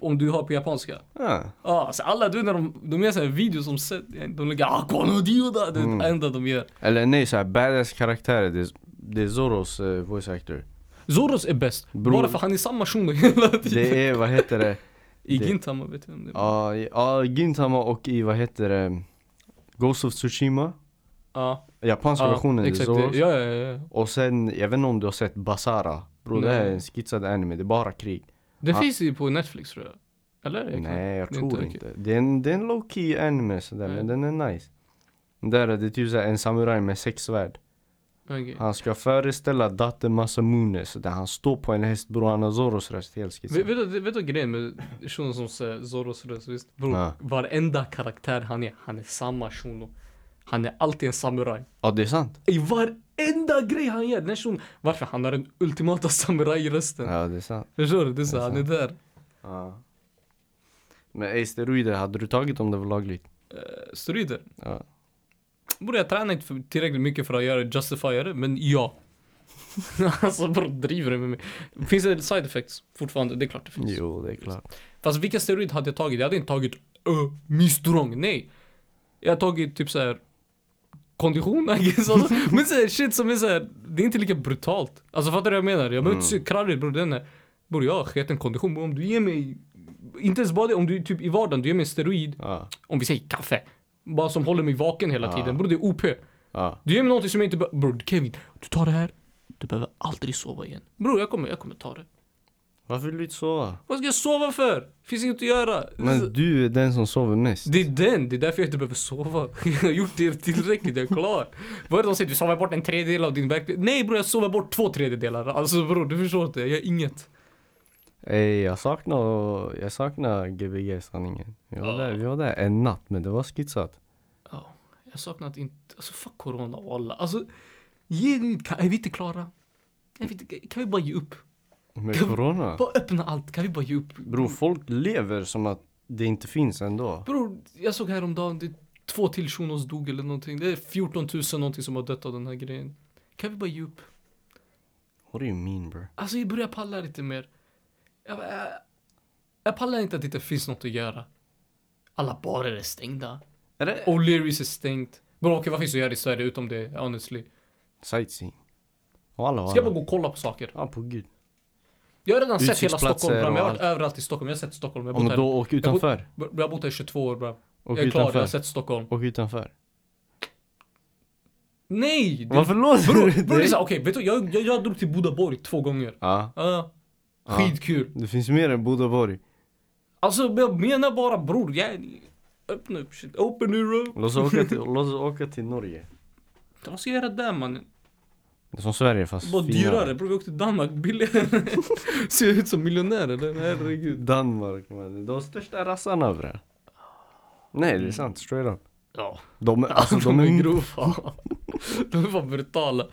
B: Om du har på japanska.
A: Ja.
B: Ja, alltså alla, du vet när de, de gör såhär videos om Seth, de lägger ah, kolla Dio där. Det är
A: Mm.
B: det enda de gör.
A: Eller nej, såhär badass karaktärer, det, är- det är Zoros eh, voice actor.
B: Zoros är bäst.
A: Bror.
B: Bara för han är samma shuno hela tiden.
A: Det är, vad heter det?
B: I
A: det-
B: Gintama vet jag om det. Ja.
A: Ja, i- ja, Gintama och i, vad heter det? Ghost of Tsushima.
B: Ja.
A: Japanska versionen, det är
B: exakt.
A: Zoros.
B: Ja, ja, ja. ja.
A: Och sen, jag vet inte om du har sett Basara. Bro, det här är en skitsad anime, det är bara krig.
B: Det
A: Ja.
B: finns ju på Netflix tror jag. Eller? Jag kan-
A: Ah. Nej, jag
B: det är
A: tror
B: okej.
A: inte. Det, är en, det är en low key anime sådär,
B: Nej.
A: men den är nice. Där är det typ såhär en samuraj med sex svärd.
B: Okej.
A: Han ska föreställa Date Masamune, så där han står på en häst bror, han har Zoros röst helt
B: Vet-
A: skitsad.
B: Vet du vet du grejen med shunon som säger Zoros röst? Visst? Bror,
A: Ja.
B: varenda karaktär han är, han är samma shuno. Han är alltid en samuraj.
A: Ja det är sant.
B: I varenda grej han gör, den här shunon. Varför? Han har den ultimata samurajrösten.
A: Ja det är sant.
B: Förstår du? Det är så,
A: Ah. Det är
B: han är där.
A: Ja. Men ey steroider, hade du tagit om det var lagligt?
B: Eh, Steroider.
A: Ja.
B: Bror jag tränar inte för- tillräckligt mycket för att göra justifiera det, men ja. alltså bror, driver du med mig? Finns det side effects fortfarande? Det är klart det finns.
A: Jo det är klart.
B: Fast vilken steroid hade jag tagit? Jag hade inte tagit uh, mistrong, nej. Jag har tagit typ såhär kondition, I guess. Alltså, men såhär shit som är såhär, det är inte lika brutalt. Alltså fattar du vad jag menar? Jag behöver inte se krallig bror, den är, bror jag har sketen kondition. Bror, om du ger mig, inte ens bara det, om du typ i vardagen, du ger mig en steroid,
A: Ja.
B: om vi säger kaffe. Bara som håller mig vaken hela tiden. Bror det är OP.
A: Ja.
B: Du ger mig någonting som jag inte behöver. Bror Kevin, du tar det här, du behöver aldrig sova igen. Bror jag kommer, jag kommer ta det.
A: Varför vill du inte sova?
B: Vad ska jag sova för? Finns inget att göra.
A: Men du är den som sover mest.
B: Det är den, det är därför jag inte behöver sova. Jag har gjort det tillräckligt, jag är klar. Vad är det de säger? Du sover bort en tredjedel av din verklighet. Nej bror, jag sover bort två tredjedelar. Alltså bror, du förstår inte. Jag gör inget.
A: Ey, Eh, jag saknar, jag saknar Gbg sanningen. Vi var,
B: Ja.
A: där, vi var där en natt men det var skitsat.
B: Ja, Jag saknar att inte, alltså fuck corona walla. Alltså, ge, kan, är vi inte klara? Är vi inte, kan vi bara ge upp?
A: Med corona?
B: Bara öppna allt, kan vi bara ge upp?
A: Bro, folk lever som att det inte finns ändå.
B: Bror, jag såg häromdagen, det är två till shunos dog eller någonting. Det är 14 000 någonting som har dött av den här grejen. Kan vi bara ge upp?
A: What do you mean bro?
B: Alltså jag börjar palla lite mer. Jag, jag, jag pallar inte att det inte finns något att göra. Alla barer är stängda.
A: Är det
B: O'Learys är stängt. Bror okej, vad finns att göra i Sverige utom det, honestly?
A: sightseeing? Walla
B: Ska jag bara
A: walla.
B: gå och kolla på saker?
A: Ja, på gud.
B: Jag har redan sett hela
A: Utsiktsplatser
B: Stockholm bram. Jag har
A: och
B: varit överallt i Stockholm. Jag har sett Stockholm. Jag har
A: Om
B: bott
A: du
B: här,
A: då åker
B: bor-
A: utanför.
B: br- jag har bott här i 22 år bram.
A: Åk
B: jag är klar, jag har
A: utanför.
B: sett Stockholm.
A: Åk utanför.
B: Nej! Det,
A: Varför låter
B: Bror,
A: du
B: bror det är
A: dig?
B: såhär, okej vet du jag, jag, jag drog till Bodaborg två gånger.
A: Ja,
B: Ja.
A: Ja.
B: skitkul.
A: det finns mer än Bodaborg.
B: Alltså jag menar bara bror, jag... Öppna upp shit. Open your up.
A: Låt oss åka till, låt oss åka till Norge.
B: Vad ska jag göra där mannen?
A: Det är som Sverige fast
B: Bara
A: finare.
B: dyrare. Bror vi åkte till Danmark billigare. Ser jag ut som miljonär eller? Herregud.
A: Danmark man. De största rassarna bre. Nej det är sant, straight up.
B: Ja.
A: De, alltså, de
B: de
A: är
B: är
A: grova.
B: grova. de är fan brutala.
A: Uh,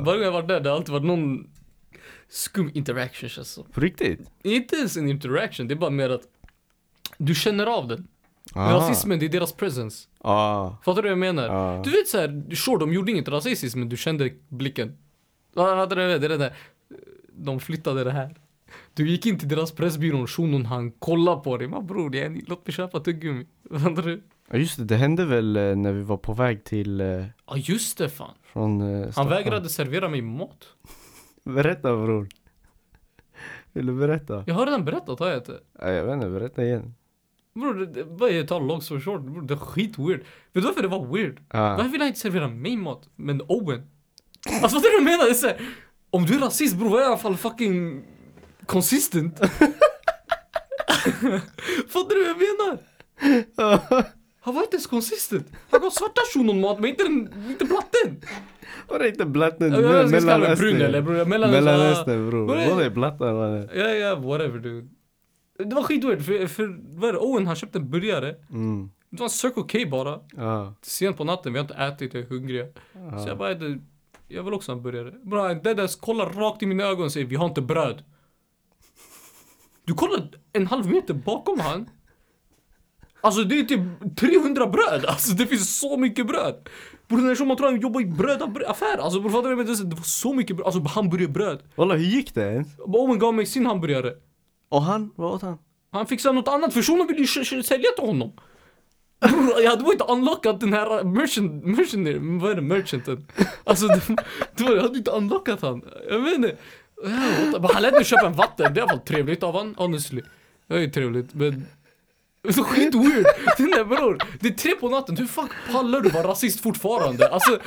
B: Varje gång jag varit där, det har alltid varit någon skum interaction känns det som.
A: på riktigt?
B: Inte ens en interaction, det är bara mer att du känner av den.
A: Ah.
B: Rasismen, det är deras presence.
A: Ah.
B: Fattar du vad jag menar?
A: Ja.
B: Du vet såhär, sure de gjorde inget rasistiskt men du kände blicken. Ja, Fattar du? vad jag menar? Det är det där. De flyttade det här. Du gick in till deras pressbyrån, shunon han kolla på dig. Man bror, yani, låt mig köpa tuggummi. Fattar du?
A: Ja just det, det hände väl eh, när vi var på väg till eh,
B: Ja just det fan.
A: från eh,
B: Han
A: Stockholm.
B: vägrade servera mig mat.
A: Berätta bror. Vill du berätta?
B: Jag har redan berättat har jag inte?
A: Nej jag vet inte, berätta igen.
B: Bror, det- det- vad är det? Ta long story short, bror, det är skit weird. Vet du varför det var weird?
A: Ah.
B: Varför vill han inte servera mig mat, men Owen? Alltså fattar du vad jag menar? Det är så här, om du är rasist bror, var i alla fall fucking consistent. fattar du vad jag menar? Han var inte ens consistent. Han gav svarta shunon mat, men inte, den- inte blatten.
A: Var det inte blatten?
B: Jag, jag ska kalla mig brun
A: Mellanöstern.
B: eller bror, mellanöstern.
A: Mellanöstern bror.
B: Var det-
A: Var det blatten? mannen?
B: Ja, ja, whatever dude. Det var skitweird, för, för vad är det? Owen han köpte en burgare.
A: Mm.
B: Det var en Circle K bara.
A: Ah.
B: sent på natten, vi har inte ätit, jag är hungrig. Så jag bara, "Du, jag vill också ha en burgare. Bra, det där kollar rakt i mina ögon och säger, vi har inte bröd. Du kollar en halv meter bakom han. Alltså det är typ 300 bröd, alltså det finns så mycket bröd. Bror den här shunon tror han jobbar i brödaffär, alltså bror fattar du? vad jag menar? Det var så mycket bröd, alltså hamburgerbröd. Oh
A: Walla hur gick det ens?
B: Owen gav mig sin hamburgare.
A: Och han? Vad åt han?
B: Han fixade något annat för shunon ville ju sh- sh- sälja till honom. Bror, jag hade bara inte unlockat den här merchant, merchant, vad är det, merchanten? Alltså, det, det var, jag hade inte unlockat han. Jag vet inte. Ja, what the- men Han lät mig köpa en vatten, det var trevligt av han, honestly. Det är ju trevligt, men... Det är så skit weird. Den där bror, det är tre på natten, hur fuck pallar du vara rasist fortfarande? Alltså,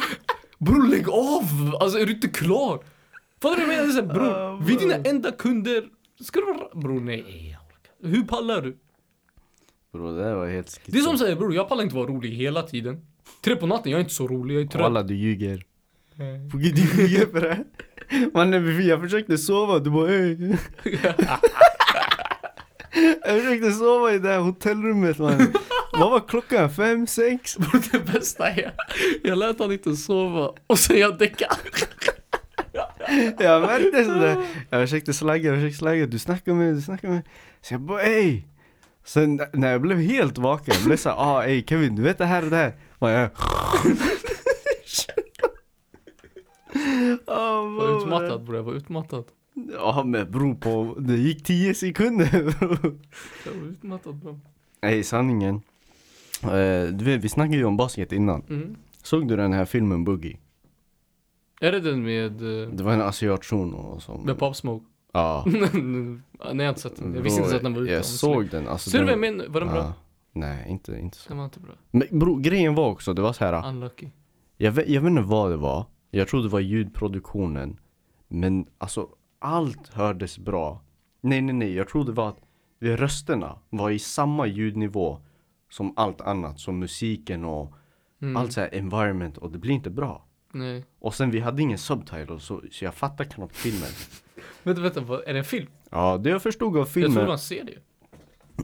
B: bror lägg av! Alltså är du inte klar? Fattar du vad jag menar? Det är så här,
A: Ah,
B: Bror, vi är dina
A: bror.
B: enda kunder. Ska du vara... Bror nej, jag orkar inte. Hur pallar du?
A: Bror det där var helt skitsigt.
B: Det är som säger bror, jag pallar inte vara rolig hela tiden. Tre på natten, jag är inte så rolig, jag är trött.
A: Walla du ljuger. På gud du ljuger för det här. Mannen jag försökte sova, du bara ey. Jag försökte sova i det här hotellrummet mannen. Vad var klockan? Fem, sex?
B: Bror det bästa är, jag lät han inte sova och sen jag däckade.
A: Jag märkte sådär. Jag försökte slagga, jag försökte slagga. Du snackar med mig, du snackar med mig. Så jag bara ey. Sen när jag blev helt vaken, jag blev såhär ah ey Kevin du vet det här och det här. Man, jag... Oh,
B: Jag var utmattad bror, jag var utmattad.
A: Ja men bro på, det gick 10 sekunder bro.
B: Jag var utmattad bror.
A: Nej sanningen. Eh, du vet, vi snackade ju om basket innan.
B: Mm.
A: Såg du den här filmen Boogie?
B: Är det den med, eh,
A: Det var en asiat shuno som...
B: med Pop Smoke?
A: Ja.
B: Nej jag har inte sett den, jag visste inte ens att den var ute.
A: Jag såg den. Alltså,
B: Ser du
A: den...
B: vad jag menar? Var den bra?
A: Ja. Nej inte, inte så.
B: Den var inte bra.
A: Men bro, grejen var också, det var så här.
B: Unlucky.
A: Jag vet, jag vet inte vad det var. Jag tror det var ljudproduktionen. Men alltså allt hördes bra. Nej, nej, nej. Jag tror det var att vi- rösterna var i samma ljudnivå som allt annat. Som musiken och
B: Mm.
A: allt så här environment. Och det blir inte bra.
B: Nej.
A: Och sen vi hade ingen subtitle så, så jag fattar knappt filmen.
B: Vänta, vänta, vad, är det en film?
A: Ja, det jag förstod av
B: Jag tror
A: filmen.
B: det var en serie.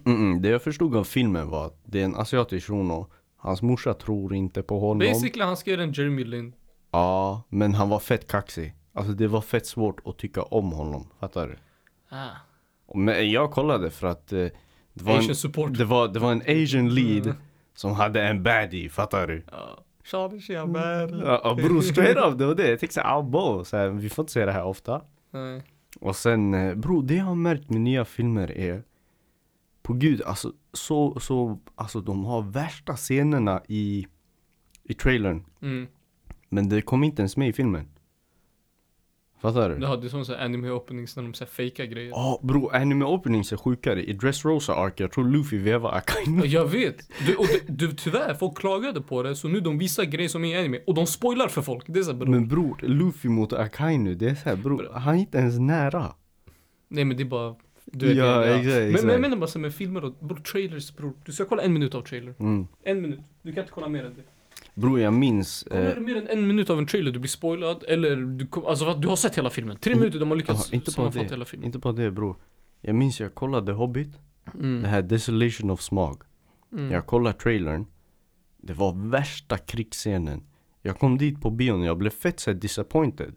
A: Mm, mm, det jag förstod av filmen var att det är en asiatisk shuno Hans morsa tror inte på honom.
B: Basically han ska göra en Jeremy Lin.
A: Ja, men han var fett kaxig. Alltså det var fett svårt att tycka om honom. Fattar du?
B: Ah.
A: Men jag kollade för att eh, det, var
B: Asian
A: en,
B: support.
A: det, var, det var en asian lead
B: Mm.
A: som hade en baddie, fattar du?
B: Ja. Charlie Chiaber.
A: Ja, ja, bror straight up, det var det. Jag tänkte såhär, abo, så här, vi får inte se det här ofta.
B: Nej.
A: Och sen, eh, bro, det jag har märkt med nya filmer är På gud, alltså så, så, alltså de har värsta scenerna i I trailern
B: Mm.
A: Men det kom inte ens med i filmen Fattar du?
B: Jaha, det är som såhär anime openings när de såhär fejkar grejer.
A: Ja, bro, anime openings är sjukare I Dressrosa Arc, jag tror Luffy vevar Akainu
B: Ja, Jag vet! Du, och det- du, tyvärr, folk klagade på det så nu de visar grejer som är i anime och de spoilar för folk. Det är såhär bror.
A: Men bror, Luffy mot Akainu, det är såhär bror, han är inte ens nära
B: Nej men det är bara... Du
A: Ja,
B: det är-
A: exakt,
B: Men-
A: exakt.
B: Men jag menar bara så här med filmer och bror, trailers bror. Du ska kolla en minut av trailer.
A: mm.
B: En minut. Du kan inte kolla mer än det.
A: Bror jag minns
B: Kollar
A: eh,
B: du mer än en minut av en trailer, du blir spoilad eller du kom, alltså vad- du har sett hela filmen. Tre minuter, de har lyckats
A: Ja, Mm. inte bara
B: sammanfatta
A: det.
B: hela filmen.
A: Inte bara det bror Jag minns jag kollade Hobbit Det
B: Mm.
A: här Desolation of Smog
B: Mm.
A: Jag kollade trailern Det var värsta krigsscenen Jag kom dit på bion och jag blev fett såhär disappointed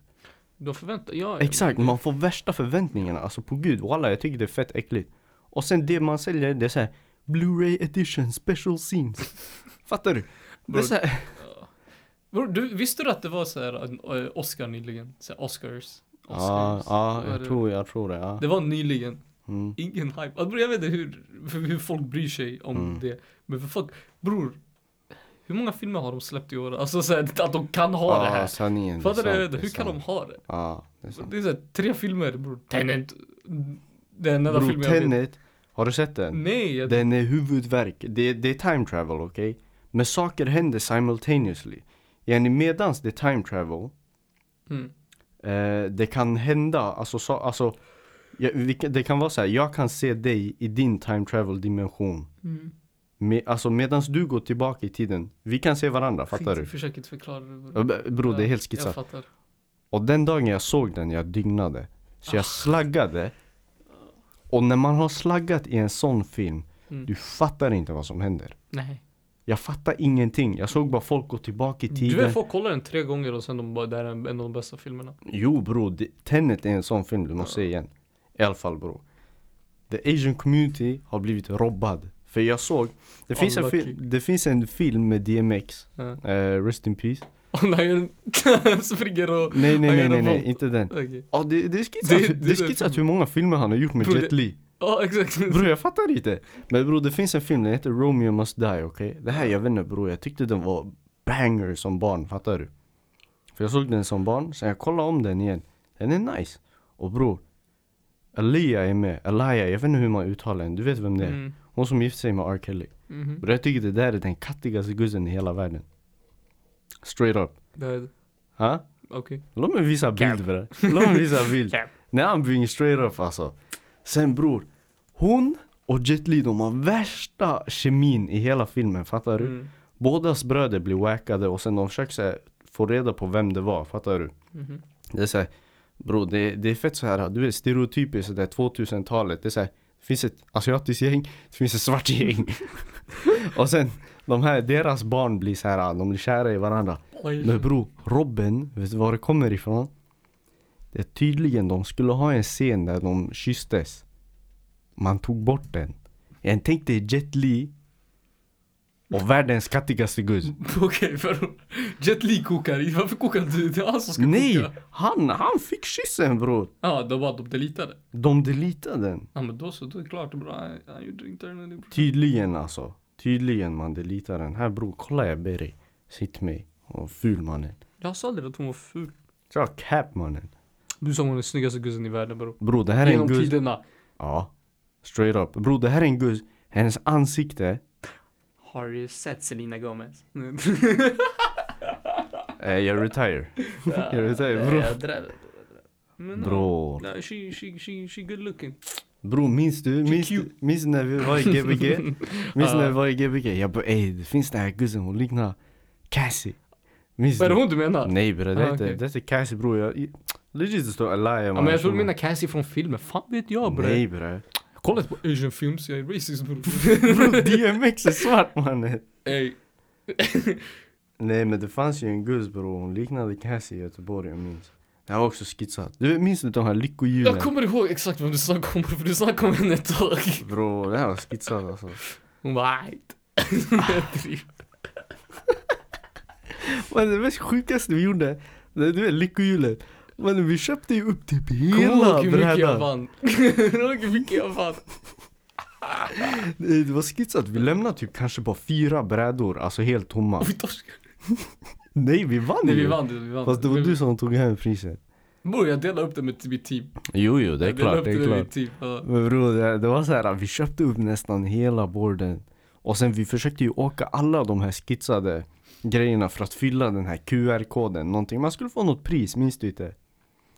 B: Du har förväntat ja, ja.
A: Exakt, man får värsta förväntningarna Alltså på gud, walla jag tycker det är fett äckligt Och sen det man säljer det är såhär Blu-ray edition special scenes Fattar du? Det är
B: Bror.
A: såhär
B: Bror, du, visste du att det var så här en, eh, Oscar nyligen? Så här Oscars.
A: Ja,
B: Oscars.
A: ja,
B: Vad är
A: jag
B: det?
A: tror, jag tror det ja
B: Det var nyligen.
A: mm.
B: Ingen hype. Alltså, bror, jag vet inte hur, hur folk bryr sig om
A: Mm.
B: det. Men för fuck, bror. Hur många filmer har de släppt i år? Alltså så här, att de kan ha det
A: Ja,
B: här.
A: sanningen det är
B: Fattar du?
A: sant,
B: Jag vet inte,
A: det är
B: Hur kan de
A: sant.
B: ha det?
A: Ja, det är sant
B: Det är så här, tre filmer bror. Tenet. Den enda
A: Bror,
B: filmen jag vet.
A: Tenet, har du sett den?
B: Nej, jag,
A: Den är huvudvärk. Det, det är time travel, okej? Men saker händer simultaneously. Yani medans det är time travel,
B: mm.
A: eh, det kan hända, alltså, så, alltså ja, vi, kan- det kan vara så här, jag kan se dig i din time travel dimension.
B: Mm.
A: Me, alltså medans du går tillbaka i tiden, vi kan se varandra, fattar
B: Skit,
A: du?
B: Försök inte förklara det
A: Ja,
B: bror.
A: b- Bro, det är helt
B: Jag
A: skissat.
B: fattar.
A: Och den dagen jag såg den, jag dygnade. Så jag slaggade. Och när man har slaggat i en sån film,
B: Mm.
A: du fattar inte vad som händer.
B: Nej.
A: Jag fattar ingenting. Jag såg bara folk gå tillbaka i
B: Du
A: tiden.
B: vet folk kollar den tre gånger och sen de bara, det här är en en av de bästa filmerna.
A: Jo bro, det- Tenet är en sån film du måste se igen. I alla fall bro. The Asian community har blivit robbad. För jag såg, det, finns en,
B: Unlucky.
A: fil- det finns en film med DMX.
B: Ja.
A: eh, rest in peace.
B: Och när han springer och...
A: Nej nej nej
B: Han gör
A: nej,
B: en
A: nej
B: volt.
A: inte den.
B: Okej.
A: Ja det, det är skissat,
B: Det-
A: det,
B: det är
A: är
B: den
A: skissat hur
B: filmen.
A: många filmer han har gjort med
B: Bro,
A: Jet Li.
B: Ja, exakt.
A: Bro jag fattar inte. Men bro det finns en film, den heter Romeo Must Die okej. Det här jag vet inte bro, jag tyckte den var banger som barn, fattar du? För jag såg den som barn, sen jag kollade om den igen. Den är nice. Och bror, Alia är med. Alia, jag vet inte hur man uttalar henne, du vet vem det är?
B: Mm.
A: Hon som gifte sig med R. Kelly.
B: Mhm.
A: Bror jag tycker det där är den kattigaste guzzen i hela världen. Straight up.
B: Det här-
A: Ha?
B: Okej.
A: Låt mig visa bild bre. Låt mig visa bild. När han bygger straight up alltså. Sen bror, hon och Jet Li de har värsta kemin i hela filmen, fattar du?
B: Mm.
A: Bådas bröder blir wackade och sen de försöker så här, få reda på vem det var, fattar du?
B: Mhm.
A: Det är såhär, bror det, det är fett så här, du vet stereotypiskt sådär 2000-talet. Det är såhär, det finns ett asiatiskt gäng, det finns ett svart gäng. och sen, de här, deras barn blir så här, de blir kära i varandra.
B: Oj.
A: Men bro, Robben, vet du var det kommer ifrån? Det är tydligen de skulle ha en scen där de kysstes. Man tog bort den. Jag tänkte Jet Li och världens kattigaste gud.
B: Okej, för Jet Li kokar. i. Varför kokar du? Det är han som ska
A: Nej!
B: koka.
A: Han, han fick kyssen bror!
B: Ja, de bara de delitade.
A: De deletade den.
B: Ja men då så, då är det klart bra. Han- Han gjorde internally bra.
A: Tydligen alltså. Tydligen man deletar den. Här bror, kolla jag ber dig. Sitt mig. Och ful mannen.
B: Jag sa aldrig att hon var ful.
A: Så cap mannen.
B: Du sa hon är den snyggaste guzzen i världen bror.
A: Bror det här är en
B: Genom
A: gud.
B: tiderna.
A: Ja. Straight up. Bror det här är en gud. Hennes ansikte
B: Har du sett Selena Gomez?
A: Eh, jag retire. jag retire bro.
B: Jag drar. Men, ja.
A: Bro.
B: Ja, she, she, she, she good looking.
A: Bro, minns du? Minns,
B: cute.
A: minns när vi var i Gbg? Minns
B: Ja.
A: när vi var i Gbg? Jag bara ey, det finns den här guzzen, hon liknar Cassie. Minns
B: Vad är det
A: du?
B: hon du menar?
A: Nej bre, det
B: Ah,
A: heter
B: okej.
A: det heter Cassie bror. Jag, legit det står Alaya
B: Ja, men jag tror du menar Cassie från filmen. Fan vet jag bre.
A: Nej bre.
B: Kolla inte på asian films, jag är racist bror.
A: Bro, DMX är svart mannen.
B: Ey,
A: Nej men det fanns ju en gus bror, hon liknade Cassie i Göteborg jag minns. Jag har också skissat. Du minns du de här lyckohjulen?
B: Jag kommer ihåg exakt vem du snackade om för du snackade om henne ett tag.
A: Bro, det här var skissat alltså.
B: Hon bara "Ajt."
A: Ah.
B: Jag driver.
A: Men det mest sjukaste vi gjorde, det du vet lyckohjulet. Men vi köpte ju upp typ
B: Kommer du
A: hela
B: ihåg hur mycket jag
A: brädan.
B: vann? Kommer du ihåg hur mycket jag vann?
A: Det det var skissat, vi lämnade typ kanske bara fyra brädor, alltså helt tomma.
B: Vi torskade.
A: Nej vi vann
B: Nej
A: ju!
B: vi vann det, vi vann.
A: Fast det var du som tog hem priset.
B: Bror jag delade upp det med mitt team.
A: Jo jo, det
B: Jag delade upp med mitt team. Ja.
A: Men bro, det, det var så här, vi köpte upp nästan hela borden. Och sen vi försökte ju åka alla de här skitsade grejerna för att fylla den här QR-koden. Någonting, man skulle få något pris, minns du inte?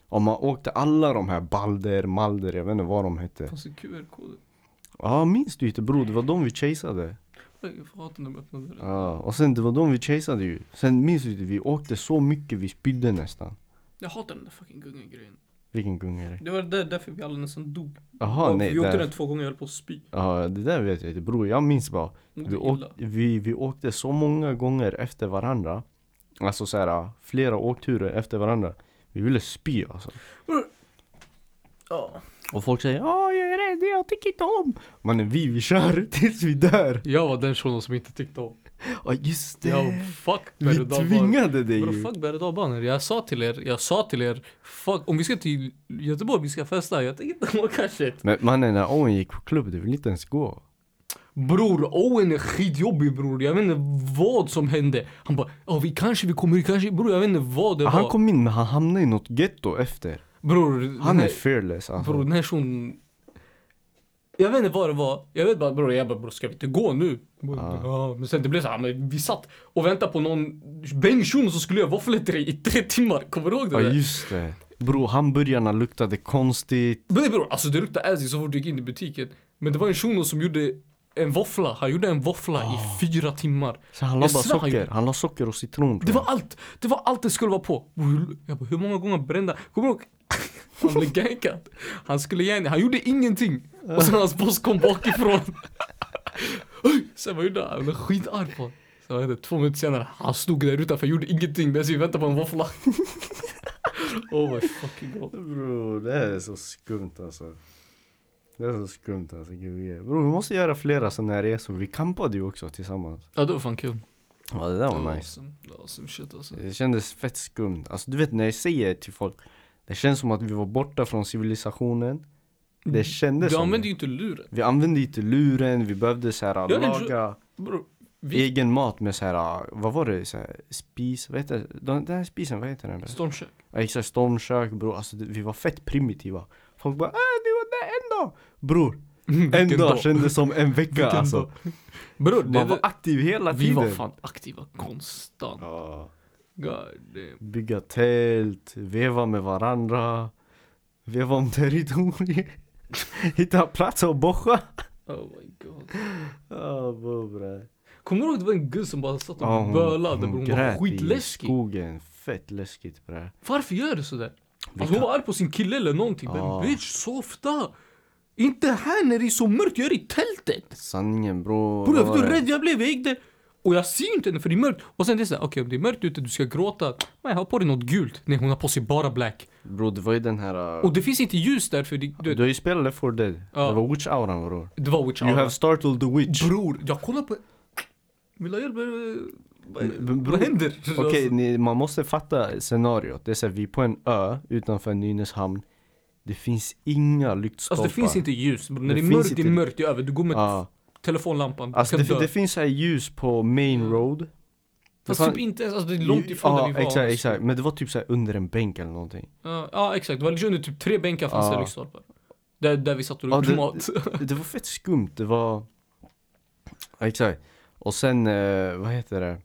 A: Om man åkte alla de här Balder, Malder, jag vet inte vad de hette.
B: Fanns det QR-koder?
A: Ja, minns du inte bro? Det var de vi chaseade.
B: Jag hatar när de öppnar dörren.
A: Ja, och sen det var de vi chaseade ju. Sen minns du inte, vi åkte så mycket vi spydde nästan.
B: Jag hatar den där fucking gungan-grejen.
A: Vilken gunga är det?
B: Det var där, därför vi alla nästan dog.
A: Jaha,
B: Och
A: nej.
B: vi åkte
A: Där.
B: den två gånger och höll på att spy.
A: Ja, det där vet jag inte bror. Jag minns bara.
B: Mådde
A: Vi, åk,
B: illa.
A: vi, vi åkte så många gånger efter varandra. Alltså så här, flera åkturer efter varandra. Vi ville spy alltså.
B: Ja.
A: Och folk säger Åh jag är rädd, jag tycker inte om. Men vi, vi kör tills vi dör.
B: Jag var den shunon som inte tyckte om.
A: Ja just det.
B: Jag fuck
A: vi tvingade dig
B: Vadå
A: ju.
B: fuck berg dalbanor? Jag sa till er, jag sa till er, fuck om vi ska till Göteborg, vi ska festa, jag tänker inte åka shit.
A: Men mannen när Owen gick på klubb, du ville inte ens gå.
B: Bror, Owen är skitjobbig bror, jag vet inte vad som hände. Han bara, ja vi kanske vi kommer, kanske, bror jag vet inte vad det
A: Han
B: var.
A: kom in men han hamnade i något ghetto efter.
B: bror,
A: Han
B: den
A: är
B: här,
A: fearless alltså.
B: bror den här shunon. Jag vet inte vad det var, jag vet bara bror, jag bara bror ska vi inte gå nu? Bror,
A: Ah.
B: Ja, men sen det blev så här, men vi satt och väntade på någon bänkshun som skulle göra våfflor till dig i tre timmar, kommer du ihåg det
A: Ja
B: där?
A: just det. Bror hamburgarna luktade konstigt.
B: Men nej bror, alltså det luktade azzi så fort du gick in i butiken. Men det var en shuno som gjorde en våffla. Han gjorde en våffla
A: Ah.
B: i fyra timmar.
A: Så han la
B: Jag
A: bara
B: svär, han
A: socker.
B: gjorde-
A: Han la socker och citron. tror
B: Det
A: jag.
B: var allt! Det var allt det skulle vara på. Och hur- Jag bara, hur många gånger brända? Kommer du ihåg? Han blev gankad. Han skulle igen, han gjorde ingenting. Och sen hans boss kom bakifrån. sen vad gjorde han? Han blev skitarg på honom. Sen vad hände? Två minuter senare, han stod där utanför, gjorde ingenting medan vi väntade på en våffla. oh my fucking god.
A: Bro, det här är så skumt alltså. Det är så skumt alltså, gud yeah. Bro, vi måste göra flera sådana här resor. Vi campade ju också tillsammans.
B: Ja det var fan kul.
A: Ja, det där
B: Det
A: var
B: var
A: nice.
B: awesome. Det var awesome shit alltså.
A: Det kändes fett skumt. Alltså du vet när jag säger till folk, det känns som att vi var borta från civilisationen. Det kändes
B: Du
A: som
B: använder
A: det.
B: ju inte luren.
A: Vi använde inte luren, vi behövde så här,
B: är en
A: laga
B: Bro, vi...
A: egen mat med så här, vad var det? Så här, spis, vad heter det? Den den här spisen, vad heter den? bre?
B: Stormkök.
A: Ja, Exakt, stormkök bror, alltså det- vi var fett primitiva. Folk bara äh, det var där en dag! Bror, en
B: Vilken
A: dag, kändes som en vecka
B: Vilken
A: alltså.
B: dag. Bror, det,
A: Man var
B: det,
A: aktiv hela
B: vi
A: tiden.
B: var fan aktiva konstant.
A: Ja.
B: God damn.
A: Bygga tält, veva med varandra, veva om territoriet, hitta plats och borra.
B: Oh my god.
A: Ja, bra, bra.
B: Kommer du ihåg det var en gud som bara satt och
A: Ja, hon-
B: bölade bror?
A: hon
B: Hon
A: grät
B: var
A: i
B: skitläskig.
A: skogen, fett läskigt bre.
B: Varför gör du sådär?
A: Vi
B: Alltså, hon
A: kan-
B: var arg på sin kille eller någonting.
A: Ja.
B: Men bitch, softa! Inte här när det är så mörkt, jag är i tältet!
A: Sanningen bror.
B: Bror jag
A: vad
B: var
A: var det?
B: rädd jag blev, jag gick där och jag ser ju inte henne för det är mörkt. Och sen det är såhär, okej om det är mörkt ute, du ska gråta. Men jag har på dig något gult. Nej hon har på sig bara black.
A: Bror det var ju den här...
B: Och det finns inte ljus där för det,
A: du,
B: du,
A: har ju spelat Left 4 Dead.
B: Ja.
A: Det var witch-auran bror.
B: det var witch
A: You
B: hour.
A: have startled the witch.
B: Bror, jag kollar på... Vill du ha hjälp? Eh,
A: Men
B: Vad,
A: bror-
B: vad händer?
A: Okej, ni- man måste fatta scenariot. Det är så här, vi är på en ö utanför Nynäshamn. Det finns inga lyktstolpar.
B: Alltså det finns inte ljus. När det,
A: Det
B: är
A: finns
B: mörkt, det är
A: inte-
B: mörkt, det är över. Du går med
A: Ja.
B: telefonlampan, du
A: Alltså
B: kan
A: det,
B: dö.
A: det finns så här ljus på main road.
B: Fast
A: fan-
B: typ inte ens, alltså det är långt ifrån där vi var. alltså.
A: exakt, exakt. Men det var typ så här under en bänk eller någonting.
B: Ja, ja exakt, det var liksom under typ tre bänkar fanns
A: Ja.
B: det lyktstolpar. Där, där vi satt och
A: Ja,
B: gjorde
A: det-
B: mat.
A: Det, det var fett skumt, det var... Ja, exakt. Och sen, eh, vad heter det?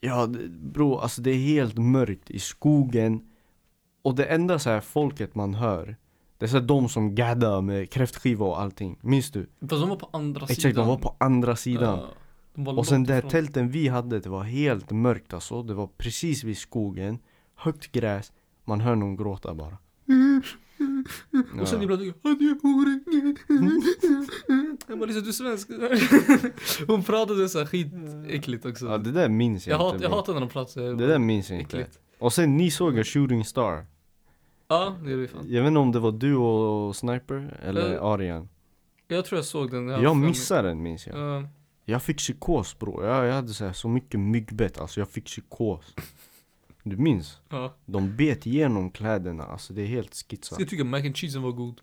A: Ja, det- bro, alltså det är helt mörkt i skogen. Och det enda så här folket man hör, det är så här de som gaddar med kräftskiva och allting. Minns du?
B: Fast de var på andra sidan.
A: Exakt, de var på andra sidan.
B: Ja, de var
A: Och sen
B: långt
A: det här
B: ifrån.
A: tälten vi hade, det var helt mörkt alltså. Det var precis vid skogen, högt gräs. Man hör någon gråta bara. Ja.
B: Och sen ibland tycker jag, han är horung. Jag bara, liksom, du är svensk. Hon pratade så här skitäckligt också.
A: ja, det där minns jag,
B: jag, hat,
A: inte.
B: jag
A: bro.
B: hatar när de pratar så här.
A: Det där minns jag inte.
B: äckligt.
A: Och sen ni såg en Shooting Star.
B: Ja, det är det fan.
A: Jag vet inte om det var du och Sniper eller
B: Eh,
A: Arian.
B: Jag tror jag såg den.
A: Jag missade den minns jag.
B: Ja.
A: Jag fick psykos bro. Jag, jag hade så, här, så mycket myggbett. Alltså jag fick psykos. Du minns?
B: ja.
A: De bet igenom kläderna. Alltså det är helt skitsat.
B: Så jag tycker mac and cheesen var god.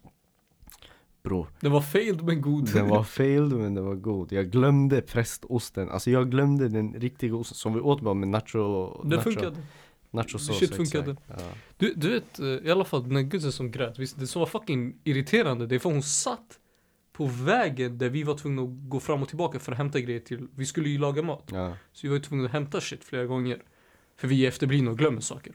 A: Bro,
B: Den var failed men god.
A: den var failed men den var god. Jag glömde prästosten. Alltså jag glömde den riktiga osten som vi åt bara med nacho...
B: Den
A: nacho,
B: funkade.
A: Nachosås,
B: Shit,
A: exakt.
B: funkade.
A: Ja.
B: Du, du vet, eh, i alla fall den här gudsen som grät, visst, det som var fucking irriterande, det är för hon satt på vägen där vi var tvungna att gå fram och tillbaka för att hämta grejer till, vi skulle ju laga mat.
A: Ja.
B: Så vi var ju tvungna att hämta shit flera gånger. För vi är efterblivna och glömmer saker.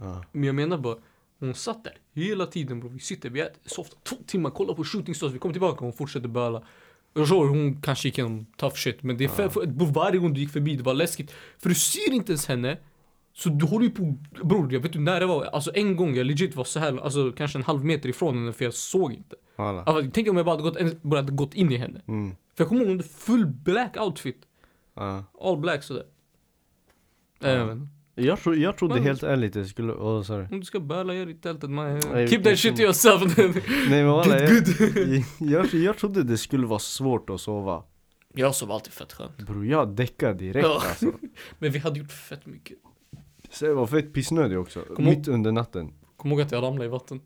A: Ja.
B: Men jag menar bara, hon satt där hela tiden bror. Vi sitter, vi äter softa två timmar, kollar på shooting stars, vi kommer tillbaka och hon fortsätter böla. Jag tror hon kanske gick igenom tough shit men det är för, för, på varje gång du gick förbi det var läskigt. För du ser inte ens henne. Så du håller ju på, bror jag vet inte när det var, alltså en gång jag legit var så här, alltså kanske en halv meter ifrån henne för jag såg inte.
A: Voilà.
B: Alltså, tänk om jag bara hade gått, en- bara hade gått in i henne.
A: Mm.
B: För jag kommer ihåg hon hade full black outfit,
A: Ja.
B: all black sådär. Ja. Jag vet inte.
A: Jag, tro, jag trodde
B: Men-
A: helt ärligt det skulle... Oh, sorry.
B: Om du ska böla, gör det i tältet man.
A: Nej,
B: Keep
A: det är
B: that shit
A: som-
B: to yourself.
A: Nej men walla, jag,
B: Good,
A: jag, jag trodde det skulle vara svårt att sova.
B: jag sov alltid fett skönt.
A: Bror jag däckade direkt
B: Ja.
A: alltså.
B: Men vi hade gjort fett mycket.
A: Så jag var fett pissnödig också.
B: Kom
A: Mitt under natten.
B: Kom ihåg att jag ramlade i vatten.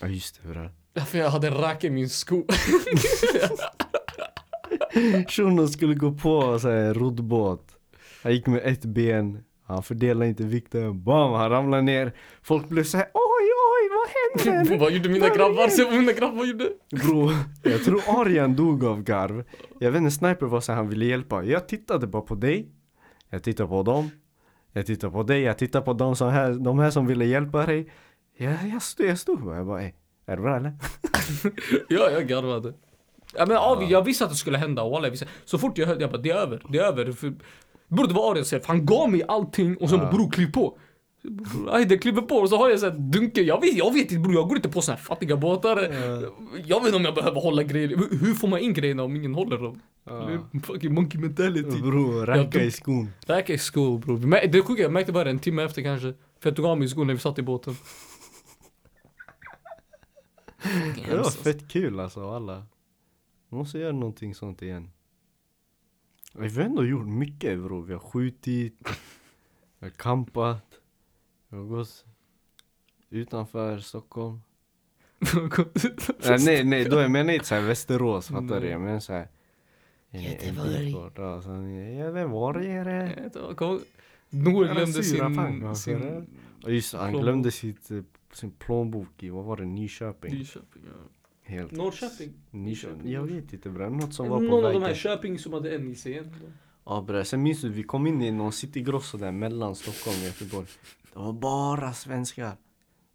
A: Ja just det bror.
B: För jag hade en räka i min sko.
A: Shunon skulle gå på så här, en roddbåt. Han gick med ett ben. Han fördelade inte vikten. Bam! Han ramlade ner. Folk blev så här. Oj, oj, vad händer?
B: Vad gjorde mina grabbar? Se vad mina grabbar gjorde.
A: Bro, jag tror Arian dog av garv. Jag vet inte, Sniper var så här, han ville hjälpa. Jag tittade bara på dig. Jag tittade på dem. Jag tittade på dig. Jag tittade på dem som här, de här som ville hjälpa dig. Jag, jag, stod, jag stod bara. Jag bara, "Ey, är det bra eller?
B: Ja, jag garvade. Ja, men, ja. Jag visste att det skulle hända. Walla, jag visste. Så fort jag hörde, jag bara det är över, det är över. För, bror det var Arian för han gav mig allting och sen bara bror kliv på. Bror, Aj, det kliver på och så har jag såhär dunker. Jag vet, jag vet inte bror, jag går inte på såna här fattiga båtar. Jag vet inte om jag behöver hålla grejer. Hur- Hur får man in grejerna om ingen håller dem? Det är Fucking monkey mentality.
A: Bro, ranka i skon.
B: Räka i skor bror. Vi mär- Det sjuka, jag märkte bara det en timme efter kanske. För jag tog av mig skor när vi satt i båten.
A: Det var fett kul alltså alla. Måste göra någonting sånt igen. Vi har ändå gjort mycket bro. Vi har skjutit, vi har campat, vi har gått utanför Stockholm. Nej Eh, nej, nej då jag menar inte såhär Västerås fattar du? Jag menar eh, såhär.
B: Göteborg.
A: Göteborg.
B: Nour
A: Han
B: glömde
A: syra fan,
B: Eh, sin...
A: vad sa du?
B: sin
A: Och just det, han
B: Plånbok.
A: glömde sitt, eh, sin plånbok i, vad var det, Nyköping?
B: Nyköping, ja.
A: Helt.
B: Norrköping?
A: Nyköping? Jag vet inte bre, något som var på
B: Någon av de
A: vägen.
B: här Köping som hade en i sig igen.
A: Ja bre, sen minns du vi kom in i någon citygrossa där mellan Stockholm och Göteborg. Det var bara svenskar.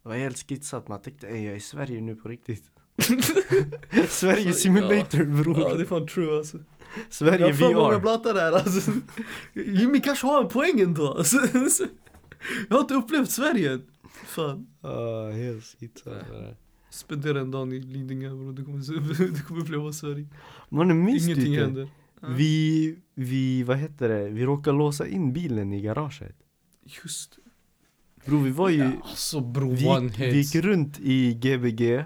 A: Det var helt skitsat, man tänkte ey jag är i Sverige nu på riktigt. Sverige simulator bror.
B: Ja det är fan true alltså.
A: Sverige
B: Jag har för många
A: VR.
B: blattar här alltså. Jimmy kanske har en poäng ändå alltså. Jag har inte upplevt Sverige än. Fan.
A: Ja, Ah, helt skitsat bre.
B: Spendera en dag i Lidingö bror, du kommer, du kommer uppleva Sverige.
A: Mannen minns du
B: Ingenting
A: inte?
B: händer.
A: typ. Vi, vi, vad heter det, vi råkade låsa in bilen i garaget.
B: Just
A: Bror vi var ju,
B: Alltså bro,
A: vi,
B: one
A: gick,
B: hit.
A: vi gick runt i Gbg.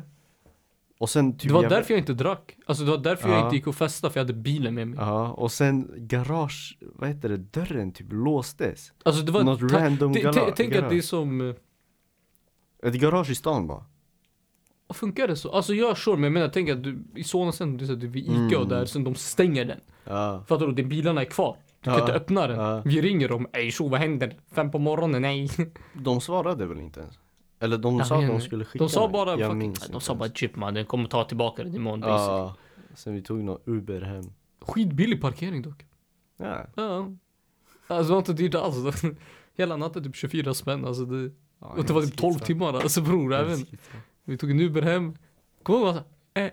A: Och sen typ
B: det var
A: jag-
B: därför jag inte drack. Alltså det var därför jag
A: Ja.
B: inte gick och festade för jag hade bilen med mig.
A: Ja, och sen garage, vad heter det, dörren typ låstes.
B: Alltså det var...
A: Något
B: ta-
A: random
B: t-
A: gala-
B: t- Tänk att
A: garage.
B: det är som... eh,
A: Ett garage i stan bara.
B: Funkar det så? Alltså jag sure, men jag menar tänk att du, i Solna sen, du, du vid Ica och
A: Mm.
B: där, sen de stänger den.
A: Ja.
B: Fattar du? Det bilarna är kvar. Du kan
A: Ja.
B: inte öppna den.
A: Ja.
B: Vi ringer dem. Ey tjo, vad händer? Fem på morgonen? Nej.
A: De svarade väl inte ens? Eller de
B: Jag
A: sa att
B: vet
A: de
B: inte.
A: skulle skicka
B: De sa
A: mig.
B: bara...
A: jag
B: Fucking,
A: minns
B: de
A: inte
B: sa bara
A: ens.
B: chip man, den kommer ta tillbaka den imorgon. Ja.
A: Ja. Sen vi tog någon Uber hem.
B: Skitbillig parkering dock.
A: Ja.
B: Ja. Alltså det var inte dyrt alls. Hela natten typ 24 spänn alltså det,
A: Ja,
B: Och det var typ 12
A: skitsamma.
B: timmar alltså bror
A: Helt
B: även
A: skitsamma.
B: Vi tog en Uber hem Kom ihåg alltså, eh,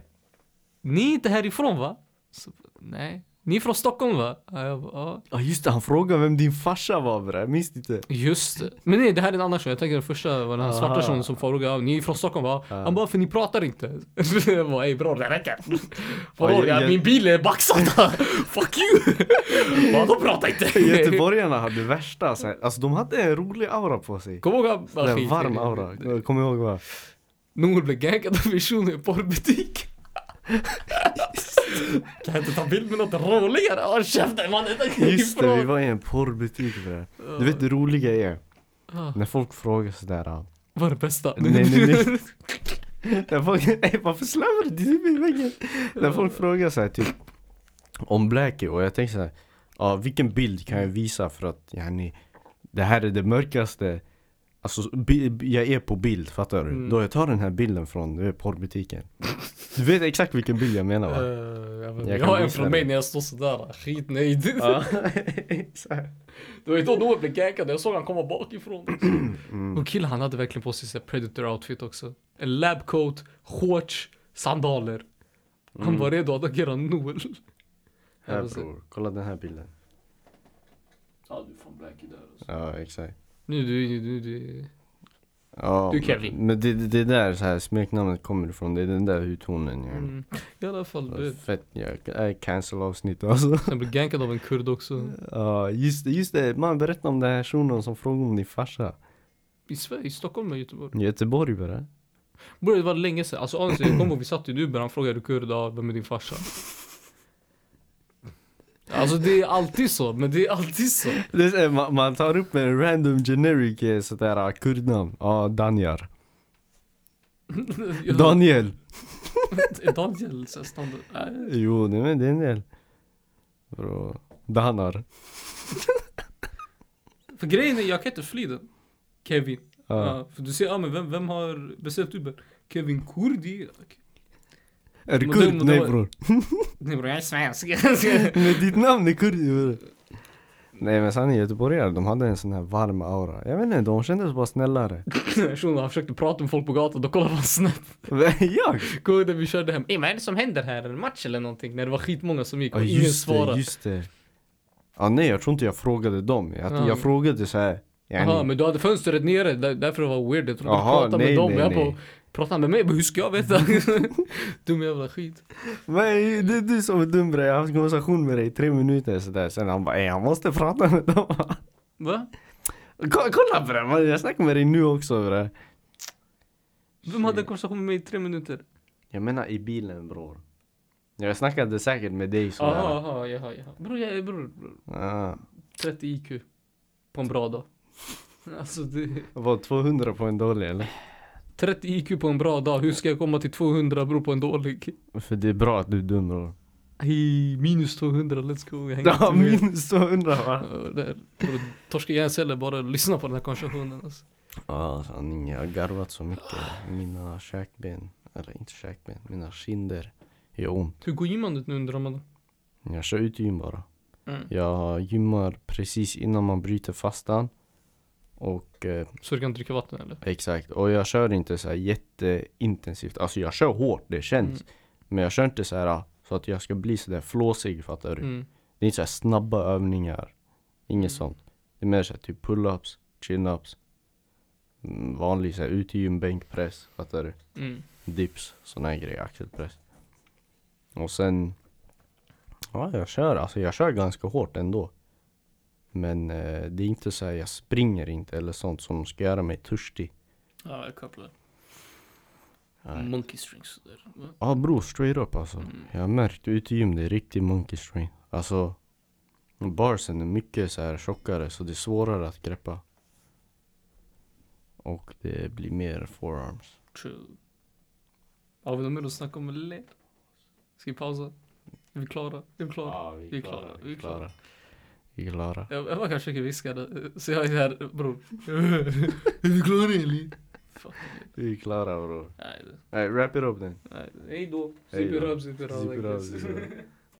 B: Ni är inte härifrån va? Så, nej Ni är från Stockholm va? Ja, jag bara, ja.
A: Ja just det, han frågade vem din farsa var bre, jag minns inte.
B: Just det. Men nej, det här är en annan shuno. Jag tänker den första var den här svarta
A: Aha.
B: shunon som frågade ja, ni är från Stockholm va? Han bara, för ni pratar inte. jag bara, ey bror det räcker. Vadå,
A: Ja,
B: ja,
A: jag-
B: min bil är backsida. Fuck you! Vadå prata inte?
A: Göteborgarna hade värsta, så här, alltså de hade en rolig aura på sig.
B: Kom ihåg att...
A: Det där varm aura, kom ihåg va?
B: Nour blev gankad av en shuno i en porrbutik. kan jag inte ta bild med något roligare? Håll käften mannen!
A: Just det, vi var i en porrbutik bre. Du vet det roliga är, när folk frågar sådär. ah,
B: Vad är det bästa?
A: Nej, nej, nej.
B: Eh,
A: När folk, Ey, varför slarvar du till mig i väggen? När folk frågar såhär typ om Blackie och jag tänker såhär, ja vilken bild kan jag visa för att yani, det här är det mörkaste Alltså bi- bi- jag är på bild, fattar du?
B: Mm.
A: Då jag tar den här bilden från du vet, porrbutiken Du vet exakt vilken bild jag menar va?
B: Eh, jag, vet,
A: Jag
B: jag,
A: kan
B: har en
A: visa dig.
B: från mig när jag står sådär, skitnöjd.
A: Ja, exakt
B: Det var ju då Noah blev gankad, jag såg han komma bakifrån. Och killen han hade verkligen på sig så här predator outfit också. En labcoat, shorts, sandaler. Han var redo att agera Noel.
A: Här
B: Jag får se.
A: bror, kolla den här bilden
B: Ja du är fan blackie där alltså.
A: Ja exakt
B: Nu du, nu du, du.
A: ja,
B: Du, Kevin.
A: Men det, det det där så här, smeknamnet kommer ifrån, det är den där hudtonen ja.
B: Mm. I alla fall du.
A: Fett jäkla, äh, cancel avsnitt alltså.
B: Sen blev gankad av en kurd också.
A: Ja just det, just det. Man berätta om den här shunon som frågade om din farsa.
B: I Sverige, i Stockholm och Göteborg.
A: Göteborg bara.
B: Bror det var länge sedan, alltså honestly, jag kommer ihåg vi satt i en Uber, han frågade "Är du kurd, ja, vem är din farsa? Alltså det är alltid så, men det är alltid så.
A: Det är, så här, man, man tar upp en random generic eh, sådär kurdnamn. Ja, Danjar.
B: Jag-
A: Daniel.
B: Är Daniel så här standard? Nej.
A: Jo, det är det är en del. Bro. Danar.
B: För grejen är, jag kan inte fly den. Kevin.
A: Ja.
B: Ja, för du säger, ja men vem, vem har beställt Uber? Kevin Kurdi? Okej.
A: Är du
B: Men
A: kurd?
B: det- men det
A: Nej
B: var-
A: bror.
B: Nej bror, jag är svensk.
A: Men ditt namn är kurd bror. Nej men sanningen göteborgare, de hade en sån här varm aura. Jag vet inte, de kändes bara snällare.
B: Shunon han försökte prata med folk på gatan, då kollade han snett.
A: Jag?
B: Kommer du ihåg när vi körde hem? Ey vad är det som händer här? Är det match eller någonting? När det var skitmånga som gick
A: Ja
B: och ingen
A: just det,
B: svarade.
A: just det. Ja nej jag tror inte jag frågade dem. Jag,
B: Ja.
A: jag frågade så här. jag
B: Jaha,
A: ni-
B: men du hade fönstret nere, där, därför det var weird. Jag trodde
A: Jaha,
B: du pratade
A: nej,
B: med dem.
A: nej,
B: jag
A: nej.
B: bara, pratade han med mig? Jag bara, Hur ska jag veta? Dum jävla skit.
A: Men det är du som är dum bre. Jag har haft en konversation med dig i tre minuter sådär. Sen han bara "Ey, jag måste prata med dem.
B: Va?
A: Ko- Kolla bre, man, jag snackar med dig nu också bre.
B: Vem hade en konversation med mig i tre minuter?
A: Jag menar i bilen bror. Jag snackade säkert med dig så
B: Jaha,
A: här.
B: jaha, jaha, jaha. Bror, jag är bror, bror.
A: Ja.
B: 30 IQ. På en bra dag. Alltså det...
A: Vad 200 på en dålig eller?
B: 30 IQ på en bra dag, hur ska jag komma till 200 bror på en dålig?
A: För det är bra att du är dum bror.
B: Hej, minus 200, let's go. Jag hänger
A: Ja
B: inte med.
A: minst 200 va?
B: Ja, där. Bror, Torska hjärnceller bara lyssna på den här konversationen alltså.
A: Ja sanning, jag har garvat så mycket. Mina käkben, eller inte käkben, mina kinder gör ont.
B: Hur går gymmandet nu under Ramadan?
A: Jag kör ut gym bara.
B: Mm.
A: Jag gymmar precis innan man bryter fastan. Och eh,
B: Så du kan dricka vatten eller?
A: exakt, och jag kör inte så här jätteintensivt. Alltså jag kör hårt, det känns.
B: Mm.
A: Men jag kör inte så här ah, så att jag ska bli så där flåsig fattar du.
B: Mm.
A: Det är inte så här snabba övningar. Inget
B: Mm.
A: sånt. Det är mer så här typ pull-ups, chin-ups. Mm, vanlig så här utegym, bänkpress, fattar du.
B: Mm.
A: dips, såna här grejer, axelpress. Och sen, ja jag kör, alltså jag kör ganska hårt ändå. Men eh, det är inte så här, jag springer inte eller sånt som ska göra mig törstig.
B: Ja, jag kopplar.
A: Nej.
B: Monkey strings där. Va?
A: Ja bror, straight up alltså.
B: Mm.
A: Jag har märkt ute i gym, det är riktig monkey strain. Alltså, barsen är mycket så här tjockare så det är svårare att greppa. Och det blir mer forearms.
B: True. Har vi något mer att snacka om eller? Ska vi pausa? Är vi klara? Är vi klara? vi är klara, vi är klara.
A: Vi är klara.
B: Jag, jag bara kanske försöker viska det, så jag är här, bror. är vi klara eller? Fuck.
A: Vi är klara bror.
B: Nej, det-
A: Alright, wrap it up then.
B: nej. Hej då.
A: Hej
B: Super
A: då.
B: up, super up.
A: Zip
B: like
A: it up,
B: this.
A: zip it up.